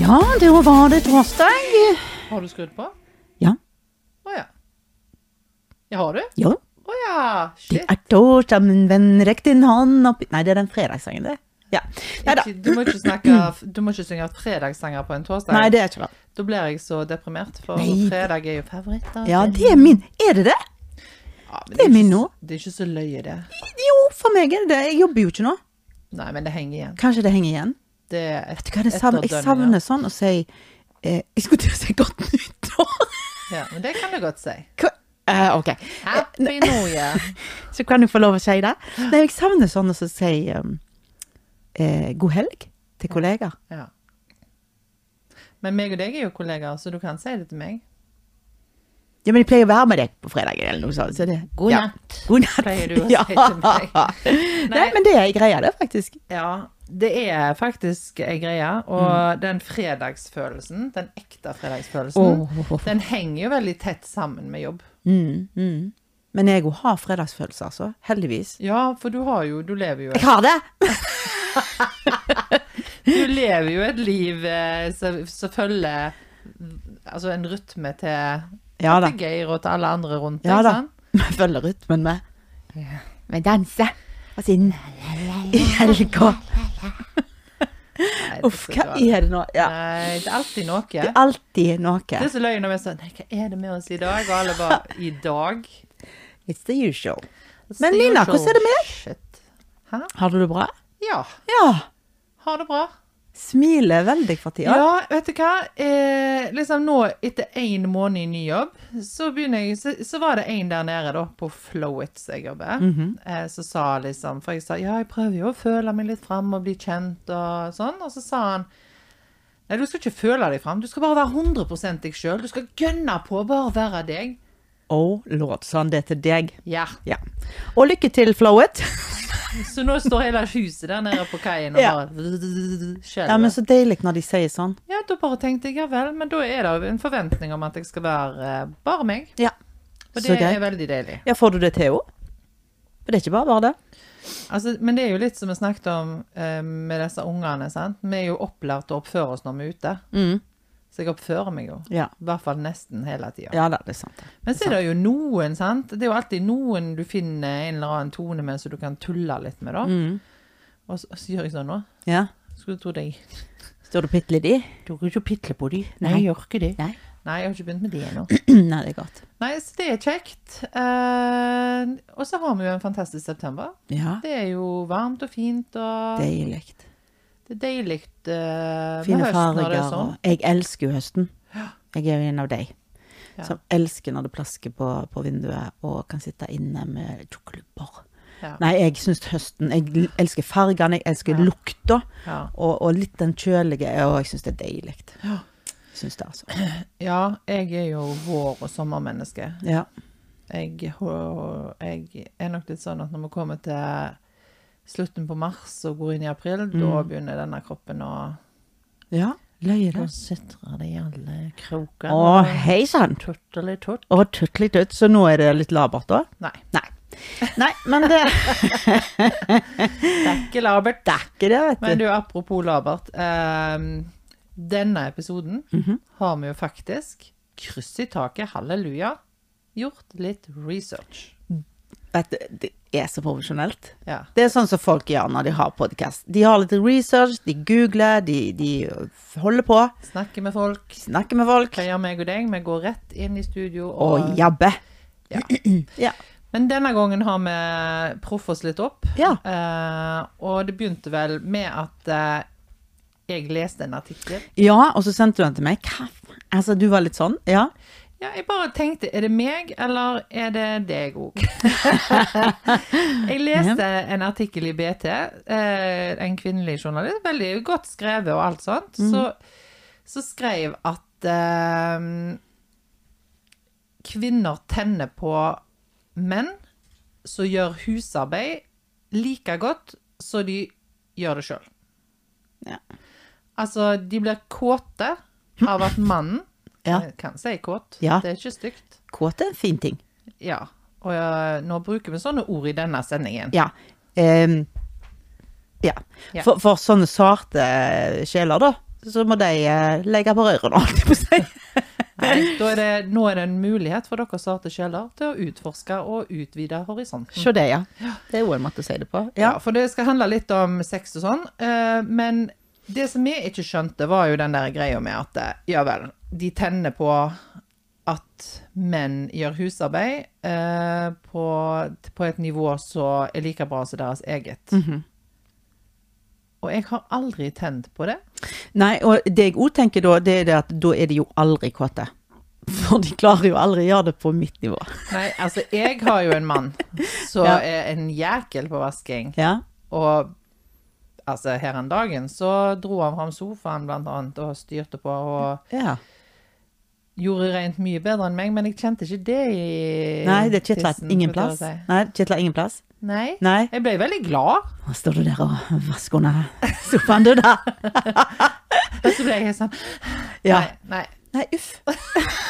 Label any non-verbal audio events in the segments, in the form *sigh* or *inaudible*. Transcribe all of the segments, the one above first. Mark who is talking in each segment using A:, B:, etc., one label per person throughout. A: Ja, da var det torsdag.
B: Har du skrudd på?
A: Ja.
B: Å ja. Ja, har du?
A: Ja,
B: Å ja.
A: det
B: Shit.
A: er torsdag, min venn, rekk din hånd opp Nei, det er den fredagssangen, det. Ja. Nei da.
B: Ikke, du, må ikke
A: *clears throat*
B: snakke, du må ikke synge fredagssanger på en torsdag.
A: Nei, det er ikke det.
B: Da blir jeg så deprimert, for
A: Nei.
B: fredag er jo favorittdagen.
A: Ja, det er min. Er det det?
B: Ja, men
A: det er
B: ikke
A: min
B: s-
A: nå.
B: Det er ikke så løye, det.
A: Jo, for meg er det det. Jeg jobber jo ikke nå.
B: Nei, men det henger igjen.
A: Kanskje det henger igjen.
B: Det er et,
A: Vet du hva, det savner, jeg savner sånn å si eh, Jeg skulle til å si godt nyttår. *laughs*
B: Ja, men det kan du godt si.
A: Hva- Eh, ok.
B: Happy New
A: *laughs*
B: Year.
A: Så kan du få lov å si det. Nei, jeg savner sånn å si um, eh, god helg til kollegaer.
B: Ja. Men meg og deg er jo kollegaer, så du kan si det til meg.
A: Ja, men jeg pleier å være med deg på fredager eller noe sånt. Så det,
B: God
A: ja.
B: natt,
A: God natt.
B: pleier du å si til meg.
A: *laughs* Ja. Nei.
B: Nei.
A: men det er greia, det, faktisk.
B: Ja, det er faktisk ei greie. Og den fredagsfølelsen, den ekte fredagsfølelsen,
A: Åh.
B: den henger jo veldig tett sammen med jobb.
A: Mm, mm. Men jeg òg har fredagsfølelse, altså. Heldigvis.
B: Ja, for du har jo Du lever jo *laughs*
A: Jeg har det!
B: Du lever jo et liv eh, som som følger altså en rytme til,
A: Ja da.
B: til Geir og til alle andre rundt deg.
A: Ja da.
B: sant?
A: Vi *laughs* følger rytmen med.
B: Ja.
A: Vi danser. Og siden *laughs* i helga.
B: Nei, det er
A: Uff,
B: så
A: hva
B: galt.
A: er det nå? Ja.
B: Nei, det er alltid noe.
A: Det er
B: Det
A: alltid noe.
B: er så løye når vi er sånn Nei, hva er det med oss i dag? Og alle bare I dag?
A: It's the usual. Men Nina, hvordan er det med deg?
B: Shit. Hæ?
A: Har du det bra?
B: Ja.
A: Ja.
B: Ha det bra.
A: Smiler veldig for
B: Ja,
A: tida.
B: vet du hva? Eh, liksom nå, etter én måned i ny jobb, så, begynner jeg, så, så var det en der nede da, på Flowits jeg jobber,
A: Mhm.
B: eh, som sa liksom For jeg sa ja, jeg prøver jo å føle meg litt fram og bli kjent og sånn. Og så sa han nei, du skal ikke føle deg fram, du skal bare være 100 deg sjøl. Du skal gønne på, bare være deg.
A: Oh lord, sa han det til deg.
B: Ja.
A: Ja. Og lykke til, Flowet.
B: Så nå står hele huset der nede på kaien og
A: Ja.
B: bare skjelver.
A: Ja, men så deilig når de sier sånn.
B: Ja, da bare tenkte jeg ja vel, men da er det jo en forventning om at jeg skal være eh, bare meg.
A: Ja.
B: Og
A: Så
B: det
A: greit.
B: er veldig deilig.
A: Ja, får du det til òg? For det er ikke bare bare det.
B: Altså, men det er jo litt som vi snakket om eh, med disse ungene. sant? Vi er jo opplært til å oppføre oss når vi er ute. Så jeg oppfører meg jo.
A: Ja.
B: I hvert fall nesten hele tida.
A: Ja da, det er sant. det.
B: Men så er det jo noen, sant. Det er jo alltid noen du finner en eller annen tone med som du kan tulle litt med, da.
A: Mm.
B: Og så, så gjør jeg sånn nå.
A: Ja.
B: Skulle du tro det jeg
A: Står du pitler de?
B: Du kan ikke pitle på de.
A: Nei.
B: gjør ikke det.
A: Nei.
B: Nei, jeg har ikke begynt med det ennå.
A: *clears throat* Nei, det er godt.
B: Nei, så det er kjekt. Eh, og så har vi jo en fantastisk september.
A: Ja.
B: Det er jo varmt og fint, og det,
A: Deilig.
B: er deilig eh, med
A: Fine
B: høsten når det
A: farger.
B: er sånn.
A: og- Jeg elsker jo høsten. Jeg er jo en av deg
B: Ja.
A: som elsker når det plasker på, på vinduet og kan sitte inne med tjukklubber.
B: Ja.
A: Nei, jeg syns høsten Jeg l- elsker fargene, jeg elsker lukta,
B: Ja.
A: og, og litt den kjølige, og jeg syns det er deilig.
B: Ja.
A: Syns det, altså.
B: Ja, jeg er jo vår- og sommermenneske.
A: Ja.
B: Jeg, hå- jeg er nok litt sånn at når vi kommer til slutten på mars og går inn i april, da
A: Mm.
B: begynner denne kroppen å
A: ja. Løye
B: Da
A: det.
B: sutrer det i alle kroker.
A: Å, hei sann.
B: Tuttelig tutt.
A: Å, tuttelig tutt. Så nå er det litt labert, da?
B: Nei,
A: Nei. Nei, men det *laughs*
B: det er ikke labert.
A: Det er ikke det,
B: Men
A: vet du.
B: du, apropos labert. ehm, denne episoden
A: Mhm.
B: har vi jo faktisk, kryss i taket, halleluja, gjort litt research.
A: Vet du, det er så profesjonelt.
B: Ja.
A: Det er sånn som folk gjør når de har podkast. De har litt research, de googler, de, de holder på,
B: Snakke med folk.
A: snakker med folk.
B: Hva gjør meg og deg? Vi går rett inn i studio.
A: Og
B: Og...
A: jabber.
B: Ja.
A: Ja.
B: Men denne gangen har vi proff oss litt opp.
A: Ja.
B: Eh, og det begynte vel med at eh, jeg leste en artikkel.
A: ja, og så sendte du den til meg. Hva? faen? Altså, du var litt sånn? Ja.
B: Ja, jeg bare tenkte, er det meg, eller er det deg òg? jeg leste en artikkel i BT, eh, en kvinnelig journalist, veldig godt skrevet og alt sånt,
A: Mhm.
B: så, så skrev at eh, kvinner tenner på menn som gjør husarbeid like godt som de gjør det sjøl.
A: Ja.
B: Altså, de blir kåte av at mannen
A: *laughs* Ja.
B: Jeg kan si kåt.
A: Ja.
B: Det er ikke stygt.
A: Kåt er en fin ting.
B: Ja. Og eh, nå bruker vi sånne ord i denne sendingen.
A: Ja. Ehm, ja.
B: Ja.
A: For, for sånne sarte sjeler, da, så må de eh, legge på rørene, holdt jeg på å si.
B: Nei, da er det, nå er det en mulighet for dere svarte sjeler til å utforske og utvide horisonten.
A: Se det, ja. Det er jo en måte å si det på.
B: Ja, for det skal handle litt om sex og sånn. eh, Men det som jeg ikke skjønte, var jo den der greia med at eh, ja vel, de tenner på at menn gjør husarbeid eh, på, på et nivå som er like bra som deres eget.
A: Mhm.
B: Og jeg har aldri tent på det.
A: Nei, og det jeg òg tenker da, det er det at da er de jo aldri kåte. For de klarer jo aldri å gjøre det på mitt nivå.
B: Nei, altså, jeg har jo en mann som
A: *laughs* Ja.
B: er en jækel på vasking.
A: Ja.
B: Og altså, her en dagen så dro han fram sofaen blant annet og styrte på og
A: ja.
B: gjorde rent mye bedre enn meg, men jeg kjente ikke det i
A: Nei, det kitler
B: tissen,
A: ingen
B: for å
A: plass.
B: si.
A: Nei, det kitler ingen plass.
B: Nei.
A: Nei.
B: Jeg ble veldig glad.
A: Nå står du der og vasker under sofaen, du da.
B: Og så ble jeg helt sånn *laughs*
A: Ja.
B: Nei, nei.
A: Nei, uff.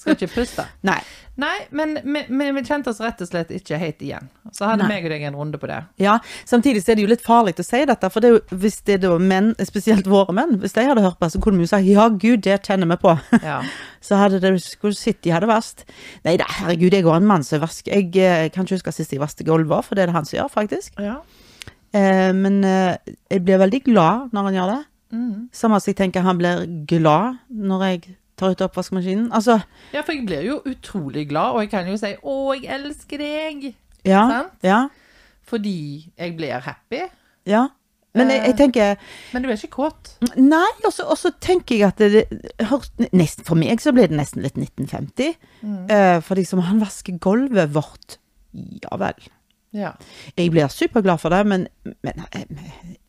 B: Skal ikke puste.
A: Nei.
B: Nei, men, men, men vi kjente oss rett og slett ikke helt igjen. Så hadde
A: Nei.
B: meg og deg en runde på det.
A: Ja, samtidig så er det jo litt farlig å si dette, for det er jo, hvis det er da menn, spesielt våre menn, hvis de hadde hørt på, så kunne vi jo sagt ja, gud, det kjenner vi på.
B: Ja.
A: *laughs* Så hadde det skulle sitte de hadde vasket. Nei da, herregud, jeg har en mann som vasker. Jeg eh, kan ikke huske sist jeg vasket gulvet, for det er det han som gjør, faktisk.
B: ja.
A: Eh, men eh, jeg blir veldig glad når han gjør det.
B: Mm.
A: Samme som jeg tenker han blir glad når jeg tar ut oppvaskmaskinen. Altså,
B: Ja, for jeg blir jo utrolig glad, og jeg kan jo si 'Å, jeg elsker deg',
A: ja,
B: Sant?
A: ja,
B: fordi jeg blir happy.
A: ja.
B: Eh.
A: Men jeg, jeg tenker
B: Men du er ikke kåt.
A: Mm. Nei, og så- og så tenker jeg at det, det hørt, nesten, For meg så ble det nesten litt 1950. Eh, for liksom, han vasker gulvet vårt. Ja vel.
B: Ja.
A: Jeg blir superglad for det, men, men eh,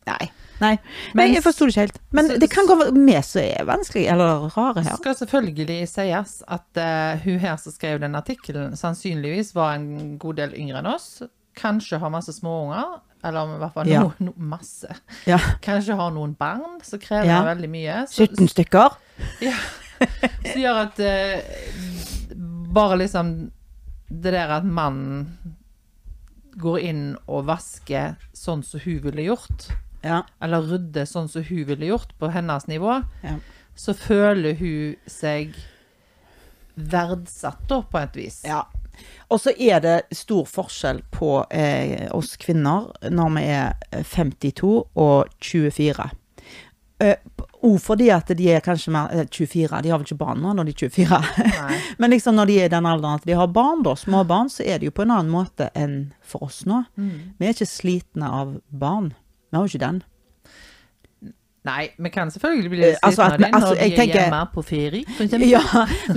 A: Nei. Nei,
B: Men-
A: nei jeg forsto det ikke helt. Men
B: Så-
A: det kan gå vi som er vanskelig, eller rare her.
B: skal selvfølgelig sies at eh, hun her som skrev den artikkelen, sannsynligvis var en god del yngre enn oss. Kanskje har masse småunger, eller i hvert fall
A: Ja.
B: noen, no, masse.
A: Ja.
B: Kanskje har noen barn som krever
A: Ja.
B: veldig mye. Så, *laughs*
A: 17 stykker.
B: som gjør at eh, bare liksom det der at mannen går inn og vasker sånn som hun ville gjort,
A: Ja.
B: eller rydder sånn som hun ville gjort på hennes nivå,
A: Ja.
B: så føler hun seg verdsatt da, på et vis.
A: Ja. Og så er det stor forskjell på eh, oss kvinner når vi er 52 og 24. Eh, og fordi at de er kanskje mer eh, 24, de har vel ikke barn nå når de er 24.
B: Nei.
A: *laughs* Men liksom når de er i den alderen at de har barn, da, små barn, så er det jo på en annen måte enn for oss nå. Vi er ikke slitne av barn. Vi har jo ikke den.
B: Nei, vi kan selvfølgelig bli
A: Eh,
B: litt
A: altså
B: slitne
A: at-
B: av det
A: altså,
B: når vi
A: jeg
B: er
A: tenker-
B: hjemme på ferie. for
A: *laughs*
B: eksempel.
A: Ja,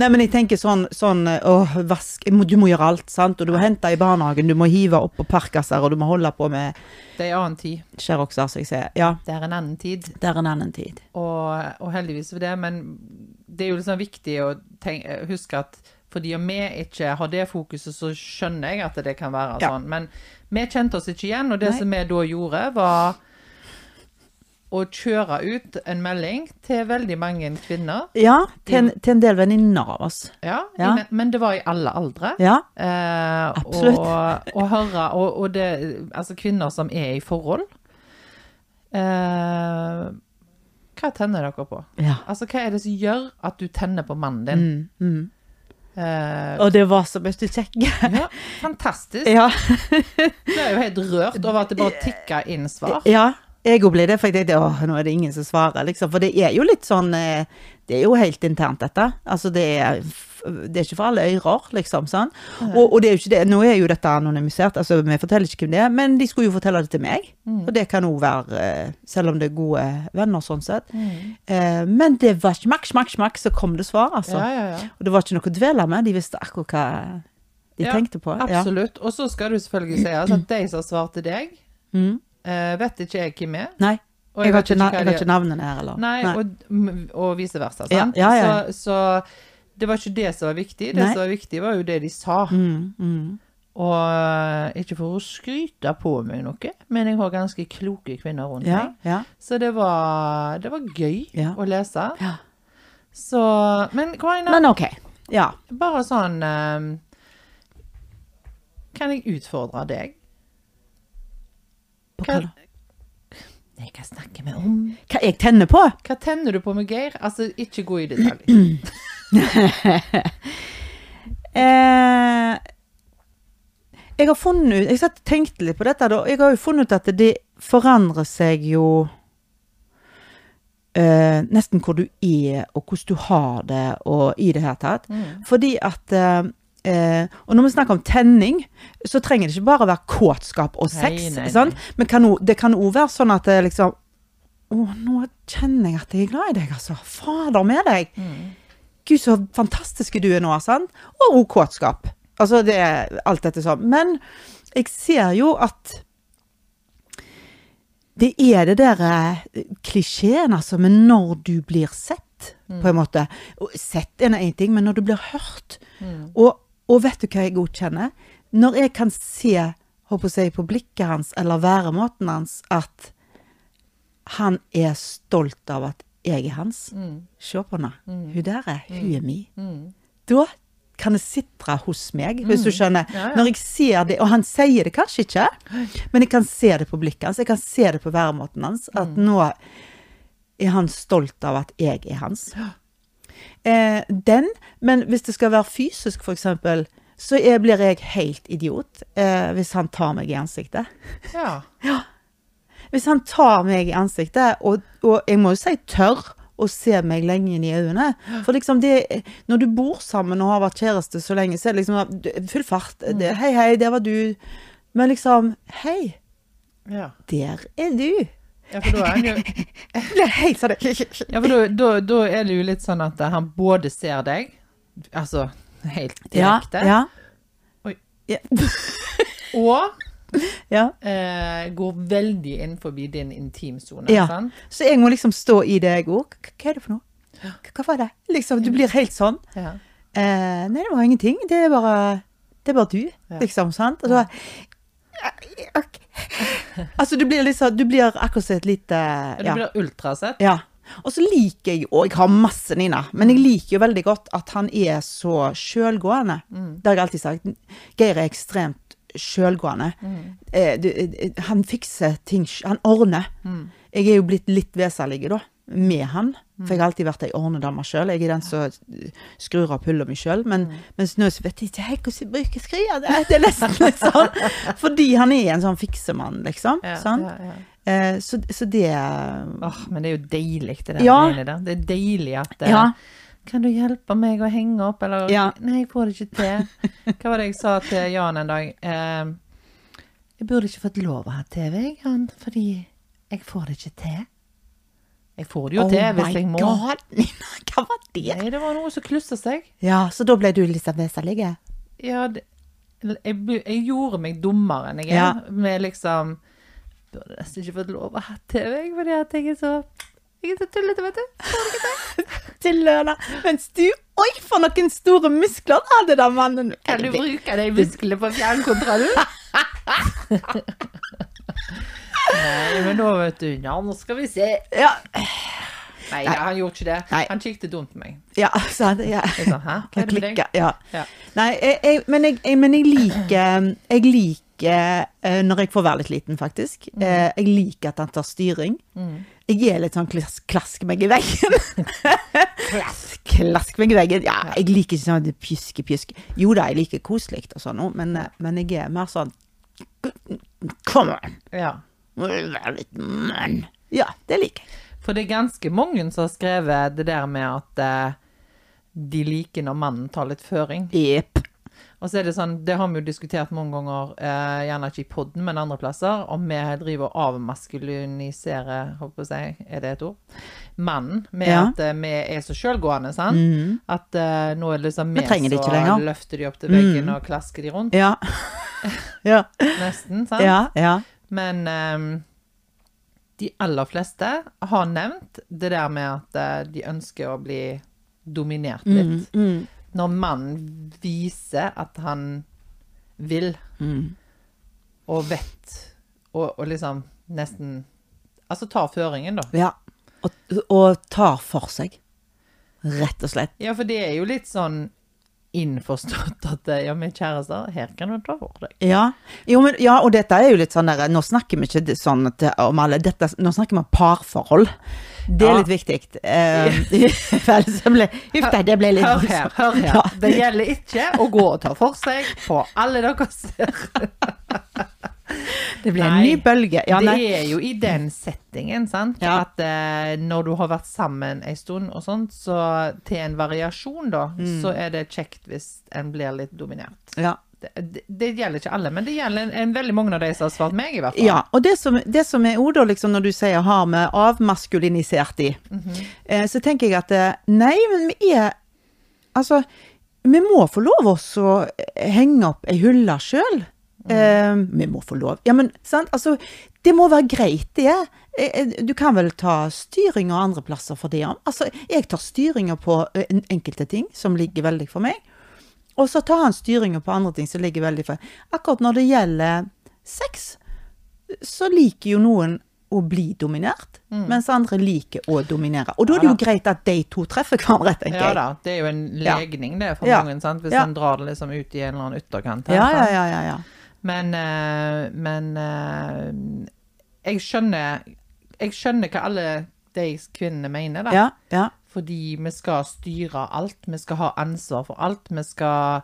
A: nei, men jeg tenker sånn, sånn åh, vask, jeg må- du må gjøre alt, sant? Og du må hente i barnehagen, du må hive opp på parkaser, og du må holde på med
B: Det er en annen tid.
A: skjer også, så jeg sier ja,
B: Det er en annen tid,
A: det er en annen tid.
B: og, og heldigvis for det. Men det er jo liksom viktig å tenke, huske at fordi om vi ikke har det fokuset, så skjønner jeg at det kan være
A: Ja.
B: sånn. Men vi kjente oss ikke igjen, og det
A: Nei.
B: som vi da gjorde, var å kjøre ut en melding til veldig mange kvinner.
A: Ja, til en, til en del venninner av oss.
B: Ja,
A: Ja.
B: i- Men det var i alle aldre.
A: Ja,
B: Eh,
A: Absolutt.
B: Og, og høre og, og det, Altså kvinner som er i forhold. Eh, hva tenner dere på?
A: ja.
B: Altså, hva er det som gjør at du tenner på mannen din?
A: Mm,
B: Eh,
A: Og det var så mye kjekke.
B: ja, fantastisk.
A: Ja,
B: Jeg er jo helt rørt over at det bare tikker inn svar.
A: ja. Jeg òg ble det, for jeg tenkte åh, nå er det ingen som svarer, liksom. For det er jo litt sånn eh, Det er jo helt internt, dette. Altså, det er, f- det er ikke for alle ører, liksom. sånn. Og, og det er jo ikke det. Nå er jo dette anonymisert, altså vi forteller ikke hvem det er, men de skulle jo fortelle det til meg.
B: Mm.
A: Og det kan òg være, eh, selv om det er gode venner, sånn sett.
B: Mm.
A: Eh, men det var smakk, smakk, smakk, så kom det svar, altså.
B: Ja, ja, ja.
A: Og det var ikke noe å dvele med, de visste akkurat hva de
B: Ja,
A: tenkte på. Ja.
B: Absolutt. Og så skal du selvfølgelig
A: *clears throat*
B: si altså, at de som har svart til deg,
A: Mm.
B: eh, vet ikke jeg hvem er.
A: Nei,
B: Og
A: jeg har
B: vet
A: ikke, na
B: hva
A: jeg
B: de-
A: har ikke navnene her, eller?
B: Nei, Og, m- og vice versa.
A: Ja,
B: Sant?
A: ja, ja.
B: Så, så det var ikke det som var viktig. Det
A: Nei.
B: som var viktig, var jo det de sa.
A: Mm, mm.
B: Og eh, ikke for å skryte på meg noe, men jeg har ganske kloke kvinner rundt
A: Ja,
B: meg.
A: ja.
B: Så det var, det var gøy
A: Ja.
B: å lese.
A: Ja.
B: Så Men Karina,
A: Men ok. Ja.
B: bare sånn eh, Kan jeg utfordre deg?
A: På hva
B: Kan,
A: da?
B: Nei, hva snakker vi om?
A: Hva jeg tenner på?
B: Hva tenner du på med Geir? Altså, ikke gå i detalj.
A: *clears throat* Eh, jeg har funnet ut Jeg satt og tenkte litt på dette, da. Jeg har jo funnet ut at det forandrer seg jo eh, nesten hvor du er, og hvordan du har det, og i det hele tatt.
B: Mm.
A: Fordi at eh, eh, og når vi snakker om tenning, så trenger det ikke bare være kåtskap og
B: Nei,
A: sex.
B: nei, nei.
A: sant? Men kan o, det kan òg være sånn at det liksom Å, nå kjenner jeg at jeg er glad i deg, altså. Fader med deg.
B: Mm.
A: Gud, så fantastiske du er nå, sant? Og også kåtskap. Altså, det er alt dette sånn. Men jeg ser jo at det er det der eh, klisjeen, altså, med når du blir sett, på en måte. Og Sett er nå én ting, men når du blir hørt. Og, og vet du hva jeg godkjenner? Når jeg kan se, håper jeg, på blikket hans, eller væremåten hans, at han er stolt av at jeg er hans.
B: Mm.
A: Se på henne. Hun der er, hun er mi. Da kan det sitre hos meg, hvis du skjønner.
B: Mm. Ja, ja.
A: Når jeg ser det, og han sier det kanskje ikke, men jeg kan se det på blikket hans, jeg kan se det på væremåten hans, at
B: Mm.
A: nå er han stolt av at jeg er hans. Eh, den, men hvis det skal være fysisk for eksempel, så er, blir jeg helt idiot eh, hvis han tar meg i ansiktet.
B: Ja.
A: Hvis han tar meg i ansiktet, og, og jeg må jo si tørr, å se meg lenge inn i øynene. For liksom det, når du bor sammen og har vært kjæreste så lenge, så er det liksom du- full fart. Det, hei, hei, der var du. Men liksom, hei,
B: Ja.
A: der er du.
B: Ja, for da er han jo
A: Jeg ble helt sånn. *laughs*
B: Ja, for da, da, da er det jo litt sånn at han både ser deg, altså helt
A: Ja,
B: direkte,
A: ja.
B: Oi.
A: Ja. *laughs*
B: og
A: ja.
B: eh, går veldig inn forbi din intimsone.
A: Ja.
B: sant?
A: Så jeg må liksom stå i det jeg òg. Hva hva er det for noe? Hva- Hva var det? Liksom, du blir helt sånn.
B: Ja.
A: Eh, nei, det var ingenting. Det er bare, det er bare du,
B: Ja.
A: liksom. sant? Og så, Eh, Ok. Altså, du blir liksom, du blir akkurat som et lite
B: Du
A: ja.
B: blir ultrasett.
A: ja. Og så liker jeg og jeg har masse Nina, men jeg liker jo veldig godt at han er så sjølgående.
B: Mm.
A: Det har jeg alltid sagt. Geir er ekstremt sjølgående.
B: Mm.
A: Eh, du, eh, han fikser ting, sj- han ordner.
B: Mm.
A: Jeg er jo blitt litt veselig da, med han. For
B: Mm.
A: jeg har alltid vært ei ordnedame sjøl. Jeg er den som skrur av hullet meg sjøl. Men
B: Mm.
A: mens nå så vet jeg ikke helt hvordan jeg bruker skria. Det det er nesten
B: *laughs*
A: litt sånn. Fordi han er en sånn fiksemann, liksom.
B: Ja,
A: sant?
B: ja, ja.
A: Eh, så, så det
B: Åh, men det er jo deilig det der.
A: Ja.
B: greiene der. Det er deilig at eh,
A: Ja.
B: Kan du hjelpe meg å henge opp, eller
A: Ja.
B: Nei, jeg får det ikke til. Hva var det jeg sa til Jan en dag? Eh, jeg burde ikke fått lov å ha TV, jeg, Jan, fordi jeg får det ikke til. Jeg får det jo til hvis jeg må.
A: Oh god, *laughs* Nina, hva var det?
B: Nei, det var noe som klussa seg.
A: Ja, så da ble du liksom veselig?
B: Ja, det, jeg, bu- jeg gjorde meg dummere enn jeg er.
A: Ja.
B: Med liksom Burde nesten ikke fått lov å ha TV, jeg, fordi at jeg er så Jeg er så tullete, vet du.
A: Til lønna. Mens du, oi, for noen store muskler han hadde den mannen.
B: Kan du bruke de musklene på *laughs* fjernkontrollen? Nei, men nå vet du Ja, nå skal vi se.
A: Ja,
B: Nei, ja, han gjorde ikke det.
A: Nei.
B: Han kikket dumt på meg.
A: ja, *laughs* sa han. Ja.
B: Jeg sa, hæ? Hva er det med deg?
A: Klikke, ja.
B: Ja.
A: Nei, jeg, jeg, men, jeg, jeg, men jeg liker Jeg liker eh, når jeg får være litt liten, faktisk.
B: Mm.
A: Eh, Jeg liker at han tar styring. Jeg er litt sånn klask, klask meg i
B: *laughs*
A: veggen. klask. klask meg i veggen. Ja, jeg liker ikke sånn pjuske-pjuske. Jo da, jeg liker koselig og sånn, men, eh, men jeg er mer sånn Kom an,
B: Ja.
A: må du være litt mann. Ja, det liker jeg.
B: For det er ganske mange som har skrevet det der med at eh, de liker når mannen tar litt føring.
A: Jepp.
B: Og så er det sånn, det har vi jo diskutert mange ganger, eh, gjerne ikke i podden, men andre plasser, om vi driver og avmaskuliniserer, holdt på å si, er det et ord? Mannen, med
A: Ja. Mhm.
B: at eh, vi er så selvgående, sant? At eh, nå er det liksom vi
A: Vi trenger det ikke lenger.
B: løfter de opp til veggen og klasker de rundt,
A: Ja. *laughs* ja.
B: nesten, sant?
A: Ja. Ja.
B: Men ehm, de aller fleste har nevnt det der med at eh, de ønsker å bli dominert litt. Når mannen viser at han vil, og vet, og, og liksom nesten Altså tar føringen, da.
A: Ja. Og, og tar for seg. Rett og slett.
B: Ja, for det er jo litt sånn innforstått at eh, ja, vi er kjærester, her kan du ta for deg.
A: Ja. Jo, men, ja, og dette er jo litt sånn der, nå snakker vi ikke det- sånn at, om alle, dette, nå snakker vi om parforhold. Det er
B: Ja.
A: litt viktig. Eh, *laughs* for ellers så ble- Uff, nei, det ble litt
B: Hør her, hør her.
A: liksom, Ja.
B: Det gjelder ikke å gå og ta for seg på alle deres
A: Det ble en
B: Nei.
A: ny bølge. Ja,
B: det
A: nei.
B: er jo i den settingen, sant,
A: Ja.
B: at eh, når du har vært sammen en stund og sånt, så til en variasjon da,
A: Mm.
B: så er det kjekt hvis en blir litt dominert.
A: Ja.
B: Det, det, det gjelder ikke alle, men det gjelder en, en veldig mange av de som har svart meg i hvert fall.
A: Ja, og det som, det som er ordet, liksom, når du sier har vi avmaskulinisert i,
B: Mhm.
A: eh, så tenker jeg at eh, nei, men vi er Altså, vi må få lov også å henge opp ei hylle sjøl.
B: Mhm.
A: Eh, vi må få lov. Ja, men sant, altså Det må være greit, det. Eh, eh, Du kan vel ta styringa andre plasser for det òg. Altså, jeg tar styringa på eh, en- enkelte ting som ligger veldig for meg. Og så tar han styringa på andre ting som ligger veldig for Akkurat når det gjelder sex, så liker jo noen å bli dominert,
B: Mm.
A: mens andre liker å dominere. Og da er det jo greit at de to treffer hverandre, tenker
B: Ja
A: jeg.
B: da, det er jo en
A: Ja.
B: legning det for
A: Ja.
B: mange, sant, hvis
A: Ja.
B: en drar det liksom ut i en eller annen ytterkant. her,
A: Ja, ja,
B: sant?
A: ja, ja, ja.
B: Men, eh, men eh, jeg skjønner Jeg skjønner hva alle de kvinnene mener, da.
A: ja, ja.
B: Fordi vi skal styre alt, vi skal ha ansvar for alt, vi skal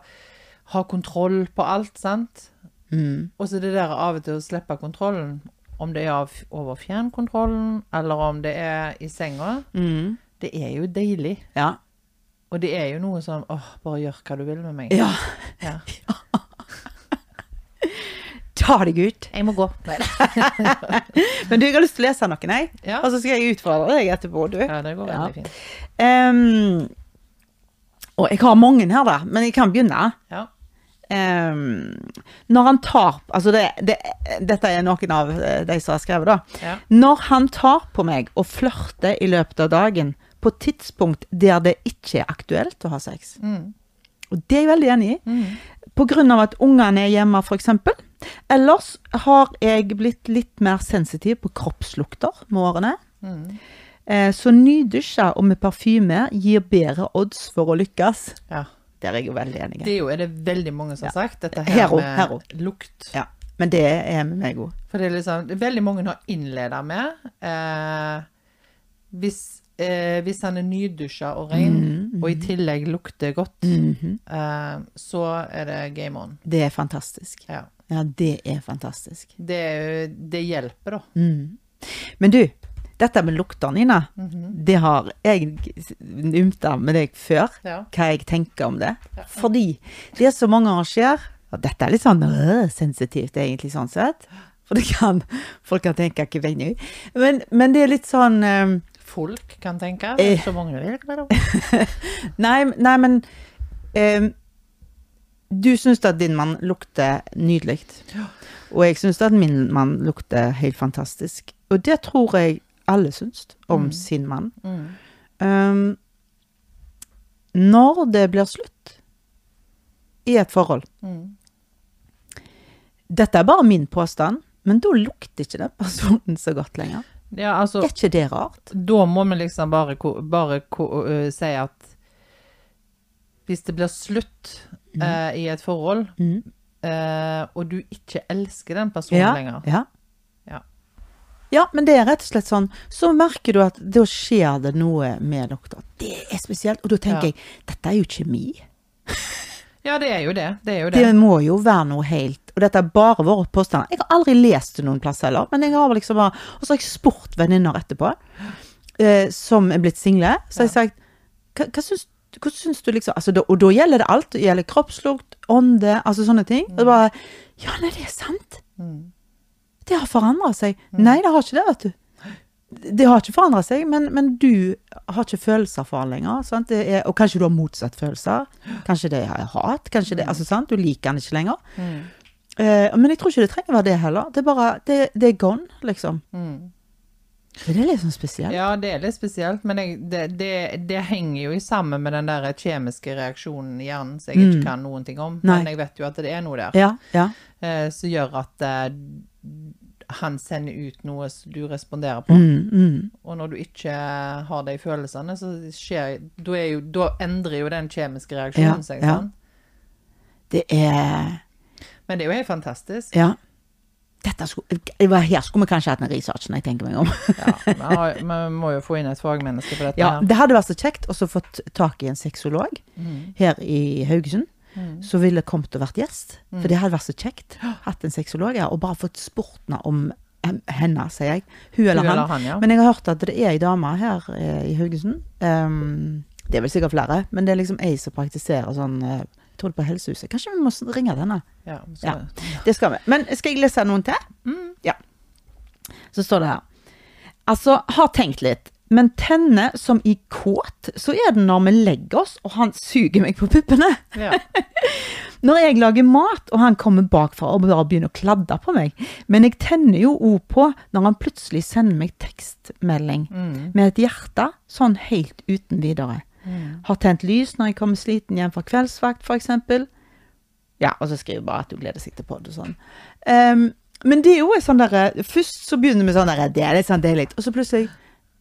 B: ha kontroll på alt, sant? Og så det der av og til å slippe kontrollen, om det er av, over fjernkontrollen, eller om det er i senga, det er jo deilig.
A: Ja.
B: Og det er jo noe sånn, åh, bare gjør hva du vil med meg.
A: ja.
B: Ja.
A: *laughs* Ta deg ut.
B: Jeg må gå. Nei.
A: Men du, jeg har lyst til å lese noen, jeg.
B: Ja.
A: Og så skal jeg utfordre deg etterpå, du.
B: Ja, det går
A: Ja.
B: veldig fint.
A: Ehm, og jeg har mange her, da, men jeg kan begynne.
B: Ja.
A: Ehm, når han tar Altså, det, det, dette er noen av eh, de som har skrevet, da.
B: Ja.
A: Når han tar på meg og flørter i løpet av dagen på tidspunkt der det ikke er aktuelt å ha sex. Og det er jeg veldig enig i. På grunn av at ungene er hjemme, f.eks. Ellers har jeg blitt litt mer sensitiv på kroppslukter med årene. Eh, Så nydusja og med parfyme gir bedre odds for å lykkes.
B: ja.
A: Der er jeg jo veldig enig.
B: Det er jo er det veldig mange som har sagt, dette her
A: Hero,
B: med
A: hero.
B: lukt.
A: Ja, men det er med meg òg.
B: For det er liksom, veldig mange har innleda med eh, hvis, eh, hvis han er nydusja og ren,
A: Mm-hmm.
B: og i tillegg lukter godt, eh, så er det game on.
A: Det er fantastisk.
B: Ja.
A: Ja, det er fantastisk. Mm.
B: Det, er jo- det hjelper, da.
A: Men du, dette med lukter, Nina, det har jeg umta med deg før,
B: Ja.
A: hva jeg tenker om det. Fordi det som mange år skjer, og dette er litt sånn øh, sensitivt egentlig sånn sett, for det kan, folk kan tenke ikke vei nå, men, men det er litt sånn eh,
B: Folk kan tenke.
A: Eh.
B: Så mange vil det.
A: Nei, nei men ehm, Du syns at din mann lukter nydelig. Og jeg syns at min mann lukter helt fantastisk. Og det tror jeg alle syns om sin mann.
B: Mm.
A: Ehm, når det blir slutt i et forhold
B: Mm.
A: Dette er bare min påstand, men da lukter ikke den personen så godt lenger.
B: Ja, altså,
A: Er ikke det rart?
B: da må vi liksom bare, ko- bare ko- ø, si at hvis det blir slutt
A: Mm.
B: eh, i et forhold, eh, og du ikke elsker den personen lenger
A: Ja.
B: Ja.
A: ja, men det er rett og slett sånn. Så merker du at da skjer det noe med lukta. Det er spesielt. Og da tenker
B: Ja.
A: jeg, dette er jo kjemi.
B: Ja, det er jo det. Det er jo det.
A: Det må jo være noe helt Og dette er bare våre påstander. Jeg har aldri lest det noen plass heller, men jeg har vel liksom bare Og så har jeg spurt venninner etterpå, eh, som er blitt single, så har jeg sagt Hva, hva syns hva syns du liksom altså, da, Og da gjelder det alt. Det gjelder kroppslukt, ånde, altså sånne ting. Og bare Ja, nei, det er sant. Det har forandra seg. Nei, det har ikke det, vet du. Det har ikke forandra seg, men, men du har ikke følelser for han lenger. Sant? Det er, og kanskje du har motsatt følelser. Kanskje det er hat. Kanskje det, altså, sant? Du liker han ikke lenger. Eh, men jeg tror ikke det trenger å være det heller. Det er bare Det, det er gone, liksom. Men det er litt sånn spesielt.
B: Ja, det er litt spesielt, men jeg, det, det, det henger jo i sammen med den der kjemiske reaksjonen i hjernen som jeg ikke kan noen ting om.
A: Mm. Nei.
B: Men jeg vet jo at det er noe der
A: Ja. ja.
B: eh, som gjør at eh, han sender ut noe som du responderer på.
A: Mm,
B: Og når du ikke har de følelsene, så skjer Da, er jo, da endrer jo den kjemiske
A: Ja,
B: reaksjonen seg.
A: ja.
B: Sånn.
A: Det er
B: Men det er jo helt fantastisk.
A: Ja. Dette skulle, det var her skulle vi kanskje hatt en research, når jeg tenker meg om. *laughs*
B: Ja, vi har- Vi må jo få inn et fagmenneske på dette
A: Ja,
B: her.
A: det hadde vært så kjekt også å få tak i en sexolog her i Haugesund. Som ville kommet og vært gjest. For det hadde vært så kjekt. Hatt en sexolog her, og bare fått spurt henne om hem- henne, sier jeg. Hun eller
B: Hun
A: han.
B: eller han, ja.
A: Men jeg har hørt at det er ei dame her eh, i Haugesund. ehm, det er vel sikkert flere, men det er liksom ei som praktiserer sånn eh, jeg tror det er på Helsehuset. Kanskje vi må s- ringe til henne?
B: Ja, så-
A: Ja, det skal vi. Men skal jeg lese noen til? Ja. Så står det her. Altså, har tenkt litt, men tenne som i kåt, så er det når vi legger oss, og han suger meg på puppene.
B: ja.
A: Når jeg lager mat, og han kommer bakfra og bare begynner å kladde på meg. Men jeg tenner jo òg på når han plutselig sender meg tekstmelding
B: Mm.
A: med et hjerte, sånn helt uten videre. Har tent lys når jeg kommer sliten hjem fra kveldsvakt, f.eks. Ja, og så skriver jeg bare at hun gleder seg til podd og sånn. Ehm, men det er jo en sånn derre Først så begynner vi sånn derre Det er litt sånn deilig. Og så plutselig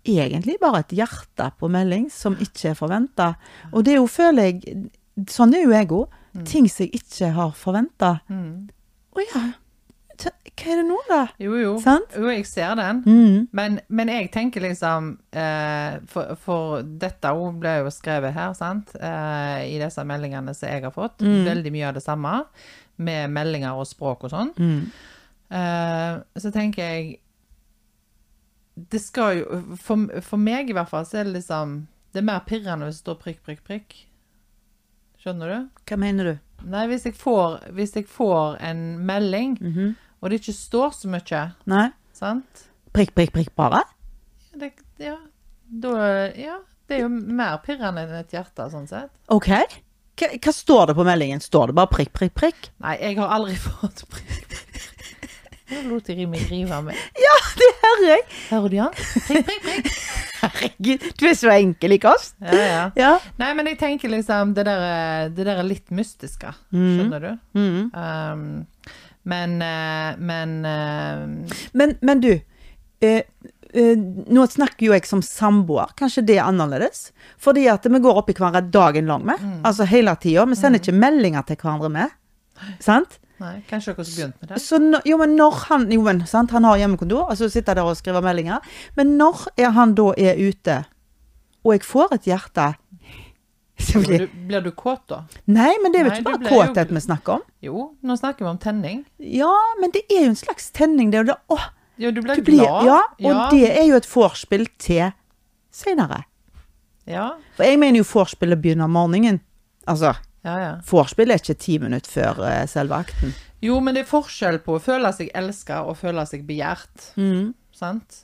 A: egentlig bare et hjerte på melding som ikke er forventa. Og det er jo, føler jeg Sånn er jo jeg òg. Ting som jeg ikke har forventa. Å ja. t- Hva er det nå, da?
B: Jo, jo.
A: Sant? Mm.
B: Jo, jeg ser den. Men, men jeg tenker liksom eh, for, for dette òg ble jo skrevet her, sant? Eh, I disse meldingene som jeg har fått. Veldig mye av det samme. Med meldinger og språk og sånn.
A: Mm.
B: Eh, så tenker jeg Det skal jo for, for meg i hvert fall så er det liksom Det er mer pirrende hvis det står prikk, prikk, prikk. Skjønner du?
A: Hva mener du?
B: Nei, hvis jeg får, hvis jeg får en melding, og det ikke står så mye,
A: Mhm. Nei?
B: sant?
A: Prikk, prikk, prikk, bare?
B: Det, ja, da, ja, det er jo mer pirrende enn et hjerte, sånn sett.
A: OK? Hva, hva står det på meldingen? Står det bare prikk, prikk, prikk?
B: Nei, jeg har aldri *laughs* fått prikk, prikk, prikk. Nå lot jeg meg rive med.
A: Ja, det hører jeg!
B: Hører du han? Prikk, prikk,
A: *laughs*
B: prikk.
A: Herregud, du er så enkel i kost.
B: Ja, ja.
A: Ja.
B: Nei, men jeg tenker liksom det der, det der er litt mystiske,
A: Mhm.
B: skjønner du?
A: Mm.
B: Um, men, eh, men eh,
A: Men, men du, eh, eh, nå snakker jo jeg som samboer, kanskje det er annerledes? Fordi at vi går opp i hverandre dagen lang med, altså hele tida. Vi sender ikke meldinger til hverandre med. Sant?
B: Nei, kanskje dere skulle begynt med det?
A: Så nå- jo, men når han Jo, men sant, han har hjemmekontor, og så sitter jeg der og skriver meldinger. Men når er han da er ute, og jeg får et hjerte så
B: Blir
A: blir,
B: du, blir du kåt, da?
A: Nei, men det er jo
B: Nei,
A: ikke
B: du
A: bare
B: ble jo-
A: kåthet vi snakker om.
B: Jo, nå snakker vi om tenning.
A: Ja, men det er jo en slags tenning, det. Og det åh,
B: Ja, du ble
A: du blir,
B: glad.
A: ja, og
B: ja,
A: det er jo et vorspiel til seinere.
B: ja,
A: For jeg mener jo vorspielet begynner om morgenen. Altså,
B: ja, ja.
A: vorspiel er ikke ti minutter før eh, selve akten.
B: Jo, men det er forskjell på å føle seg elsket og føle seg begjært. Sant?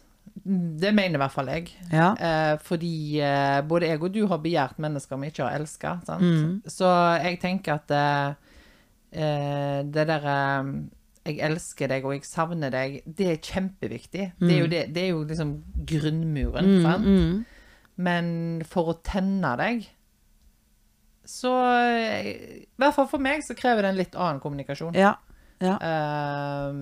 B: Det mener i hvert fall jeg.
A: Ja.
B: Eh, fordi eh, både jeg og du har begjært mennesker vi ikke har elsket. Sant? Så jeg tenker at eh, eh, det der eh, jeg elsker deg og jeg savner deg, det er kjempeviktig. Det, er jo det, det er jo liksom
A: Mm,
B: grunnmuren. sant? Men for å tenne deg, så eh, I hvert fall for meg så krever det en litt annen kommunikasjon.
A: Ja. ja.
B: Ehm,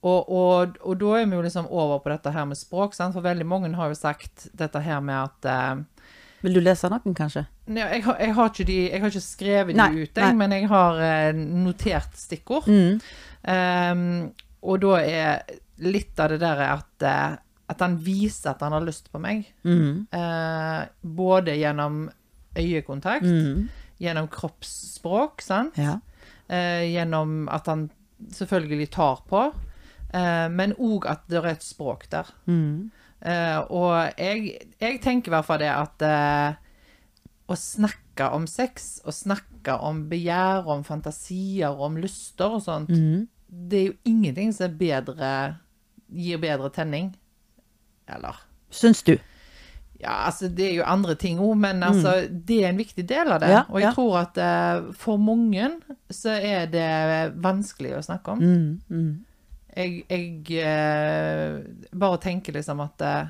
B: og, og, og da er vi jo liksom over på dette her med språk, sant? for veldig mange har jo sagt dette her med at eh,
A: Vil du lese noen, kanskje?
B: Nei, jeg, har, jeg, har ikke de, jeg har ikke skrevet
A: Nei,
B: de ut, jeg,
A: nei. Mm.
B: men jeg har eh, notert stikkord. Ehm, og da er litt av det der at, eh, at han viser at han har lyst på meg.
A: Mm.
B: Eh, både gjennom øyekontakt, gjennom kroppsspråk, sant?
A: Mm. Ja.
B: eh, gjennom at han selvfølgelig tar på, eh, men òg at det er et språk der. Eh, og jeg, jeg tenker i hvert fall det at eh, å snakke om sex, å snakke om begjær, om fantasier, om lyster og sånt, det er jo ingenting som er bedre, gir bedre tenning. Eller
A: Syns du?
B: ja, altså det er jo andre ting òg, men altså, det er en viktig del av det.
A: Mm. Ja,
B: og jeg
A: ja.
B: tror at eh, for mange så er det vanskelig å snakke om.
A: Mm,
B: Jeg, jeg eh, bare tenker liksom at eh,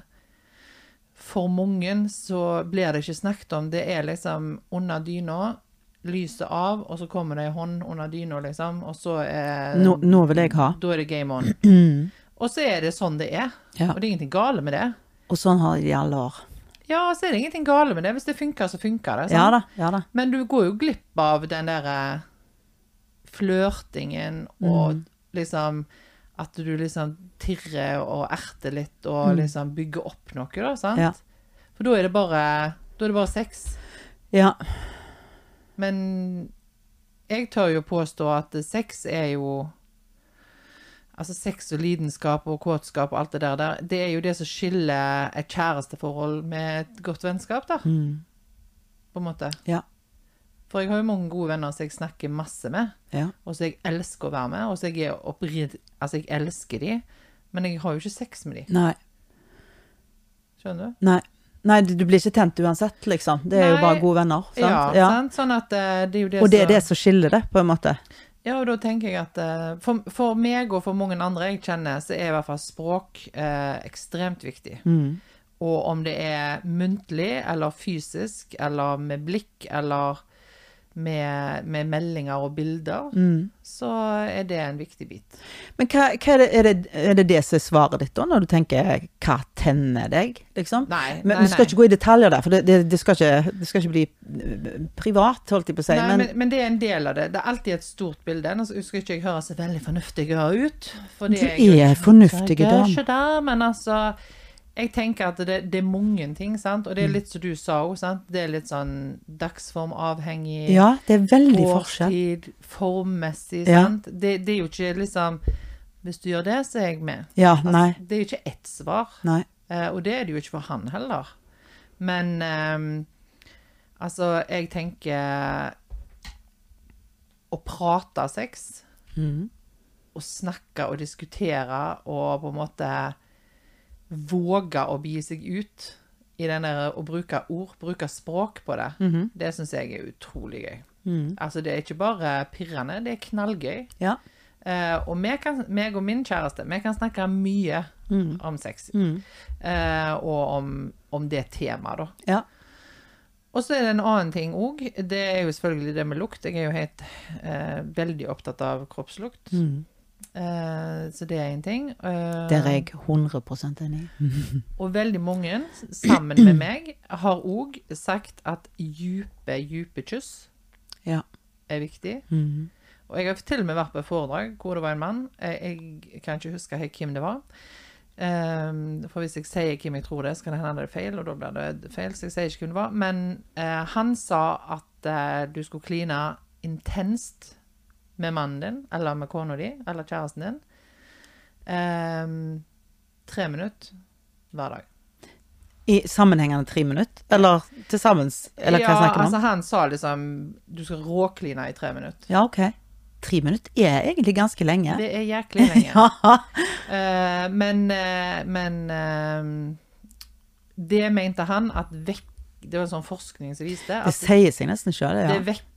B: for mange så blir det ikke snakket om. Det er liksom under dyna, lyset av, og så kommer det ei hånd under dyna, liksom, og så er
A: Nå, nå vil jeg ha.
B: Da er det game on.
A: *clears throat*
B: Og så er det sånn det er.
A: Ja.
B: Og det er ingenting gale med det.
A: Og sånn har jeg det i alle år.
B: Ja, så er det
A: sånn.
B: ingenting gale med det. Hvis det funker, så funker det. sant?
A: Ja da. ja da.
B: Men du går jo glipp av den der eh, flørtingen og liksom At du liksom tirrer og erter litt og liksom bygger opp noe, da, sant?
A: Ja.
B: For da er det bare Da er det bare sex.
A: Ja.
B: Men jeg tør jo påstå at sex er jo Altså sex og lidenskap og kåtskap og alt det der, der det er jo det som skiller et kjæresteforhold med et godt vennskap, da.
A: Mm.
B: På en måte.
A: Ja.
B: For jeg har jo mange gode venner som jeg snakker masse med,
A: ja.
B: og som jeg elsker å være med, og som jeg er oppridd... Altså, jeg elsker de, men jeg har jo ikke sex med de.
A: Nei.
B: Skjønner du?
A: Nei. Nei, du du blir ikke tent uansett, liksom. Det er jo
B: Nei.
A: bare gode venner. Sant?
B: Ja,
A: Ja,
B: sant? Sånn at eh, det er jo det,
A: Og det er
B: som-
A: det som skiller det, på en måte.
B: Ja, og da tenker jeg at eh, for, for meg og for mange andre jeg kjenner, så er i hvert fall språk eh, ekstremt viktig.
A: Mm.
B: Og om det er muntlig eller fysisk eller med blikk eller med, med meldinger og bilder,
A: Mm.
B: så er det en viktig bit.
A: Men hva, hva er, det, er, det, er det det som er svaret ditt, da, når du tenker 'hva tenner deg', liksom?
B: Nei,
A: men
B: nei,
A: vi skal
B: nei.
A: ikke gå i detaljer der, for det, det, det, skal, ikke, det skal ikke bli eh, privat, holdt jeg på å si.
B: Nei,
A: men,
B: men, men det er en del av det. Det er alltid et stort bilde. Nå skal ikke jeg høre så veldig fornuftig ut. for det
A: Du
B: jeg jo
A: er
B: ikke-
A: fornuftig
B: Jeg er
A: dame.
B: ikke det, men altså Jeg tenker at det, det er mange ting, sant. Og det er
A: Mm.
B: litt som du sa òg, sant. Det er litt sånn dagsformavhengig.
A: ja, det er veldig forskjell.
B: Årstid, formmessig,
A: Ja.
B: sant. Det, det er jo ikke liksom Hvis du gjør det, så er jeg med.
A: Ja,
B: Altså,
A: nei.
B: Det er jo ikke ett svar.
A: Nei.
B: Eh, og det er det jo ikke for han heller. Men ehm, altså, jeg tenker Å prate sex, å snakke og diskutere og på en måte våge å begi seg ut i den der å bruke ord, bruke språk på det, det syns jeg er utrolig gøy. Altså, det er ikke bare pirrende, det er knallgøy.
A: Ja.
B: Eh, og vi kan, meg og min kjæreste, vi kan snakke mye
A: Mm.
B: om sex. Eh, og om, om det temaet, da.
A: ja.
B: Og så er det en annen ting òg. Det er jo selvfølgelig det med lukt. Jeg er jo helt eh, veldig opptatt av kroppslukt.
A: Mm.
B: Eh, så det er én ting. Eh,
A: Der er jeg 100 enig.
B: og veldig mange, sammen med meg, har òg sagt at dype, dype kyss
A: Ja.
B: er viktig.
A: Mm.
B: Og jeg har til og med vært på et foredrag hvor det var en mann. Eh, Jeg kan ikke huske helt hvem det var. Ehm, for hvis jeg sier hvem jeg tror det, er, så kan det hende det er feil, og da blir det feil. Så jeg sier ikke hvem det var. Men eh, han sa at eh, du skulle kline intenst med mannen din, eller med kona di, eller kjæresten din. Ehm, tre minutter hver dag.
A: I sammenhengende tre minutter? Eller til sammens? Eller hva
B: ja,
A: snakker vi om?
B: altså han sa liksom du skal råkline i tre minutter.
A: Ja, ok. Tre minutter er egentlig ganske lenge.
B: Det er jæklig lenge.
A: *laughs* Ja.
B: Eh, men eh, men eh, det mente han at vekk, Det var en sånn forskning som viste
A: Det
B: at
A: sier seg nesten sjøl,
B: det
A: ja. Mm.
B: vekker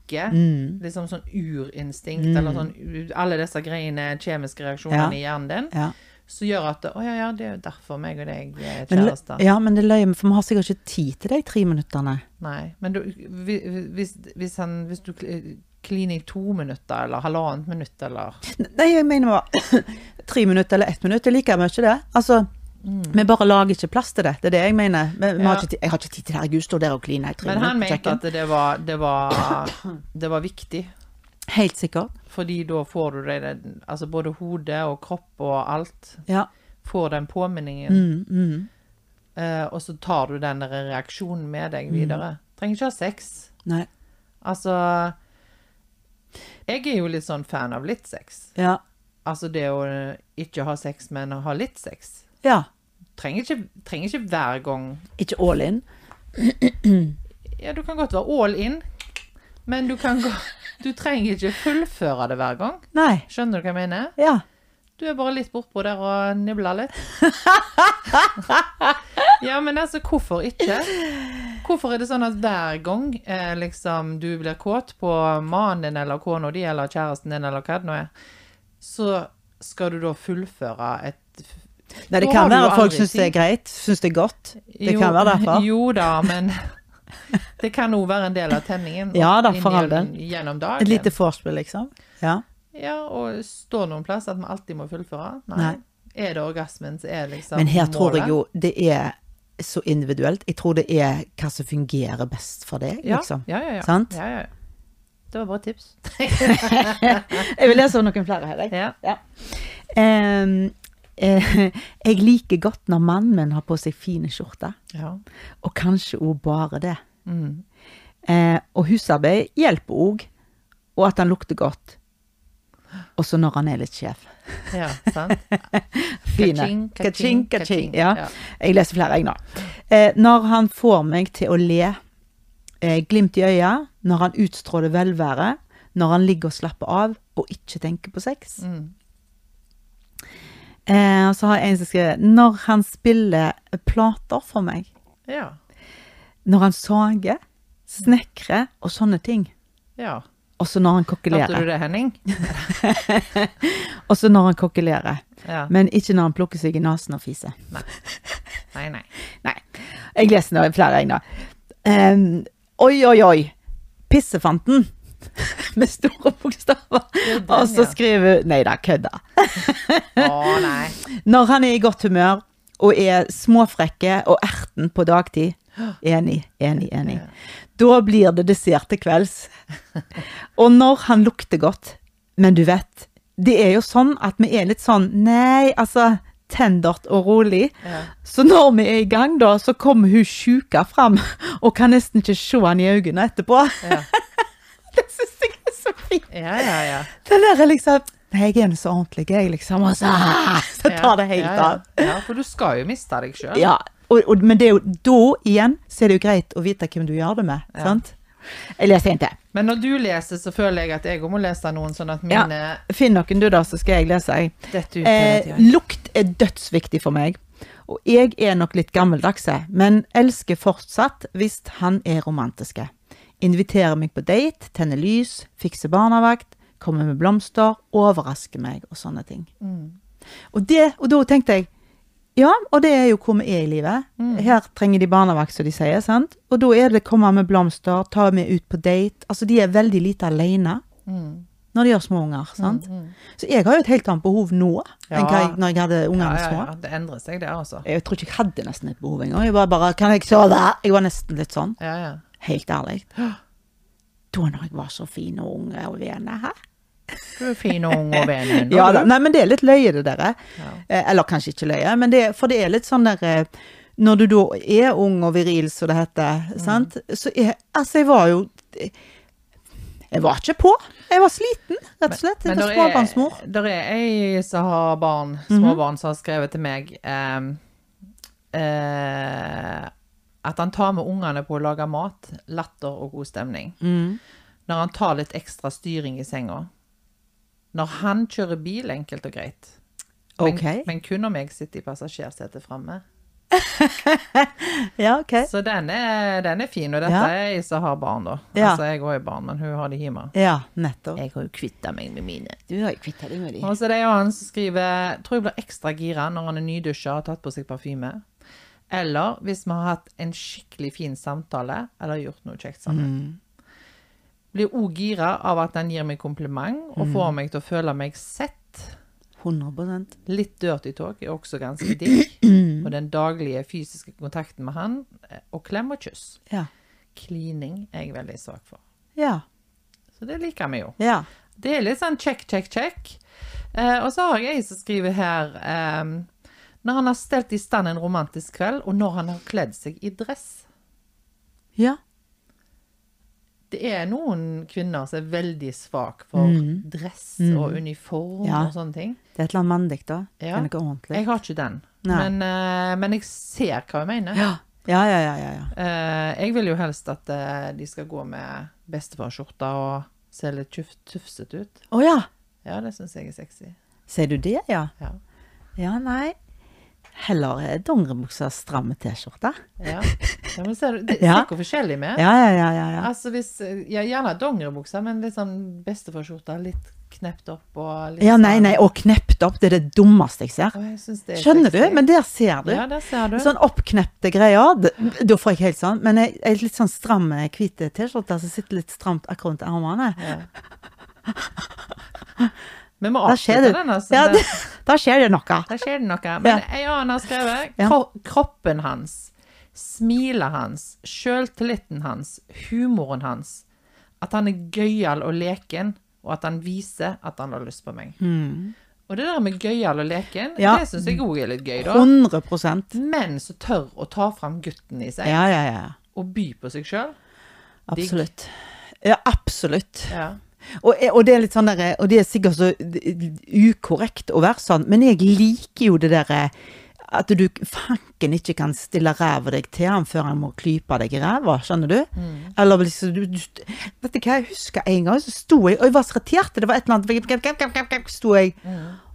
B: liksom sånn urinstinkt, eller sånn u- alle disse greiene, kjemiske reaksjonene
A: Ja.
B: i hjernen din,
A: ja.
B: som gjør at Å ja, ja, det er jo derfor meg og deg er
A: Men,
B: kjærester.
A: ja, men det er løye, for vi har sikkert ikke tid til de tre minuttene.
B: Nei, men du, vi- hvis, hvis, han, hvis du kl- kliner i to minutter, eller halvannet minutt, eller
A: Nei, jeg mener bare *coughs* tre minutter eller ett minutt, det liker jeg mye det. Altså, vi bare lager ikke plass til det, det er det jeg mener. Vi, vi
B: Ja.
A: har ikke, tid- jeg har ikke tid til det, herregud, stå der og kline i tre
B: Men han
A: minutter på
B: mente at
A: kjøkken.
B: det var, det var, det var viktig.
A: Helt sikkert.
B: Fordi da får du det, det altså både hodet og kropp og alt
A: Ja.
B: får den påminningen.
A: Mm.
B: Eh, og så tar du den der reaksjonen med deg videre. Trenger ikke ha sex.
A: Nei.
B: Altså Jeg er jo litt sånn fan av litt sex.
A: Ja.
B: Altså det å ikke ha sex, men å ha litt sex.
A: ja.
B: Trenger ikke, trenger ikke hver gang
A: Ikke all in.
B: Ja, du kan godt være all in, men du kan gå Du trenger ikke fullføre det hver gang.
A: Nei.
B: Skjønner du hva jeg mener?
A: Ja.
B: Du er bare litt bortpå der og nibler
A: *laughs*
B: litt. ja, men altså, hvorfor ikke? Hvorfor er det sånn at hver gang eh, liksom, du blir kåt på mannen din eller kona di eller kjæresten din eller hva det nå er, så skal du da fullføre et
A: Nei, det
B: Da har
A: kan
B: du
A: være
B: jo
A: at folk
B: aldri
A: syns det er
B: tid.
A: greit, syns det er godt. Det kan *laughs* være derfor.
B: Jo da, men *laughs* det kan òg være en del av tenningen.
A: Ja da,
B: inn
A: for all del.
B: gjennom- Gjennom dagen.
A: Et lite vorspiel, liksom. Ja.
B: Ja, og står noen plass at vi alltid må fullføre? Nei.
A: Nei.
B: Er det orgasmen, så er det liksom
A: Men her tror
B: målet.
A: jeg jo det er så individuelt. Jeg tror det er hva som fungerer best for deg,
B: ja.
A: liksom.
B: Ja, ja, ja.
A: Sant?
B: Ja, ja, ja. Det var bare et tips.
A: Jeg vil lese noen flere her. Jeg.
B: Ja.
A: Ehm, eh, jeg liker godt når mannen min har på seg fine skjorter,
B: ja.
A: og kanskje òg bare det.
B: Mm.
A: Eh, og husarbeid hjelper òg, og at han lukter godt. Også når han er litt skjev.
B: ja sant?
A: Fine.
B: Ka-ching,
A: Ka-ching,
B: ka-ching,
A: ka-ching.
B: ka-ching.
A: Ja.
B: Ja.
A: Jeg leser flere, jeg nå. Eh, når han får meg til å le, eh, glimt i øya, når han utstråler velvære, når han ligger og slapper av og ikke tenker på sex.
B: Mm.
A: Eh, og så har jeg en som skriver Når han spiller plater for meg,
B: Ja.
A: når han sager, snekrer og sånne ting.
B: ja.
A: Også når han
B: Hørte du
A: kokkelerer.
B: det, Henning?
A: Også når han kokkelerer.
B: Ja.
A: Men ikke når han plukker seg i nesen og fiser.
B: Nei, nei.
A: Nei. Jeg leser nå flere jeg nå. Ehm, oi, oi, oi. Pissefanten. *laughs* Med store bokstaver.
B: er den,
A: Og så
B: ja.
A: skriver hun Nei da, kødda.
B: Å, nei.
A: Når han er i godt humør og er småfrekke og erten på dagtid. Enig, enig, enig. Da blir det dessert til kvelds. Og når han lukter godt, men du vet, det er jo sånn at vi er litt sånn Nei, altså tendert og rolig. Så når vi er i gang, da, så kommer hun sjuka fram og kan nesten ikke se han i øynene etterpå.
B: Ja.
A: *laughs* Det syns jeg er så fint.
B: Ja, ja, ja.
A: *laughs* Den der er liksom Nei, jeg er nå så ordentlig, jeg, liksom. Og så, så tar det helt
B: ja, ja.
A: av.
B: Ja, for du skal jo miste deg sjøl.
A: Ja, og, og, men det er jo, da igjen så er det jo greit å vite hvem du gjør det med. sant? Jeg leser en til.
B: Men når du leser, så føler jeg at jeg òg må lese noen, sånn at
A: Ja.
B: mine
A: eh, Finn noen du, da, så skal jeg lese. jeg.
B: Dette
A: Eh,
B: ut, dette ut.
A: lukt er dødsviktig for meg. Og jeg er nok litt gammeldags, jeg, men elsker fortsatt hvis han er romantiske. Inviterer meg på date, tenner lys, fikser barnevakt, kommer med blomster, overrasker meg og sånne ting. Og, det, og da tenkte jeg ja, og det er jo hvor vi er i livet.
B: Mm.
A: Her trenger de barnevakt, som de sier. sant? Og da er det komme med blomster, ta med ut på date. Altså, de er veldig lite alene
B: Mm.
A: når de har små unger. sant? Så jeg har jo et helt annet behov nå enn
B: Ja.
A: hva jeg, når jeg hadde
B: ja,
A: ungene
B: ja,
A: små.
B: ja. Det endrer seg, det, altså.
A: Jeg tror ikke jeg hadde nesten et behov engang. Jeg var bare Kan jeg sove? Jeg var nesten litt sånn.
B: Ja, ja.
A: Helt ærlig. Da når jeg var så fin og ung og vene, hæ?
B: Du er fin og ung og venn.
A: Ja, da.
B: da.
A: Nei, men det er litt løye, det der.
B: Ja.
A: Eh, Eller kanskje ikke løye, men det, for det er litt sånn der eh, Når du da er ung og viril, som det heter, sant, så er Altså, jeg var jo Jeg var ikke på. Jeg var sliten, rett og slett. Jeg
B: Men
A: var
B: der
A: småbarnsmor.
B: er, der er ei som har barn, små barn, som har skrevet til meg ehm, eh, at han tar med ungene på å lage mat, latter og god stemning.
A: Mm.
B: Når han tar litt ekstra styring i senga. Når han kjører bil, enkelt og greit. Men,
A: Ok.
B: men kun om jeg sitter i passasjersetet framme.
A: Ja, OK.
B: Så den er, den er fin, og dette
A: Ja.
B: er ei som har barn, da.
A: Ja.
B: Altså, jeg har jo barn, men hun har de hjemme.
A: Ja, nettopp.
B: Jeg har jo kvitta meg med mine.
A: Eh, Du har jo kvitta deg med
B: Og så det er jo han som skriver Tror jeg blir ekstra gira når han er nydusja og har tatt på seg parfyme. Eller hvis vi har hatt en skikkelig fin samtale eller gjort noe kjekt sammen. Blir òg gira av at han gir meg kompliment og får meg til å føle meg sett.
A: 100
B: Litt dirty talk er også ganske digg. Og den daglige fysiske kontakten med han, eh, og klem og kyss.
A: Ja.
B: Klining er jeg veldig svak for.
A: Ja.
B: Så det liker vi jo.
A: ja.
B: Det er litt sånn check, check, check. Eh, og så har jeg ei som skriver her ehm, Når han har stelt i stand en romantisk kveld, og når han har kledd seg i dress.
A: Ja.
B: Det er noen kvinner som er veldig svak for dress og uniform
A: Mm. Ja.
B: og sånne ting.
A: Det er et eller annet mandig, da.
B: Ja.
A: Kan ikke ordentlig.
B: Jeg har ikke den,
A: Nei.
B: men, eh, men jeg ser hva hun mener.
A: Ja. Ja, ja, ja, ja, ja.
B: Eh, jeg vil jo helst at eh, de skal gå med bestefarskjorte og se litt tjuf- tufsete ut.
A: Å ja.
B: Ja, det syns jeg er sexy.
A: Sier du det, ja?
B: Ja.
A: Ja, nei. Heller eh, dongeribukser, stramme T-skjorte.
B: Ja. ja men ser du, det
A: Ja.
B: er ikke forskjellig med.
A: Ja, ja, ja, ja, ja.
B: Altså hvis, ja, Gjerne dongeribuksa, men litt sånn bestefarskjorta. Litt knept opp og litt
A: Ja, nei,
B: sånn-
A: nei, og knept opp. Det er det dummeste jeg ser.
B: Å, jeg synes det er
A: Skjønner du?
B: sexy.
A: Men der ser du.
B: Ja, der ser du.
A: Sånn oppknepte greier. det- Da får jeg helt sånn. Men jeg, jeg er litt sånn stram eh, hvit T-skjorte som sitter litt stramt akkurat rundt armene.
B: Vi må
A: Da skjer det,
B: avslutte den, altså.
A: ja,
B: det,
A: det, da skjer det noe.
B: der skjer det noe.
A: Ja.
B: Men en annen har skrevet
A: Ja.
B: kro kroppen hans, smilet hans, sjøltilliten hans, humoren hans. At han er gøyal og leken, og at han viser at han har lyst på meg. Og det der med gøyal og leken,
A: Hmm. Ja.
B: det syns jeg òg er litt gøy, da.
A: 100
B: Menn som tør å ta fram gutten i seg
A: Ja, ja, ja.
B: og by på seg sjøl.
A: Absolutt. Ja, absolutt.
B: Ja.
A: Og, og det er litt sånn der, og det er sikkert så eh, ukorrekt å være sånn, men jeg liker jo det derre at du fanken ikke kan stille ræva deg til han før han må klype deg i ræva, skjønner du? Eller liksom du, du Vet du hva, jeg husker en gang, så sto jeg, og jeg var så irritert, det var et eller annet gap, gap, gap, gap, gap, Sto jeg,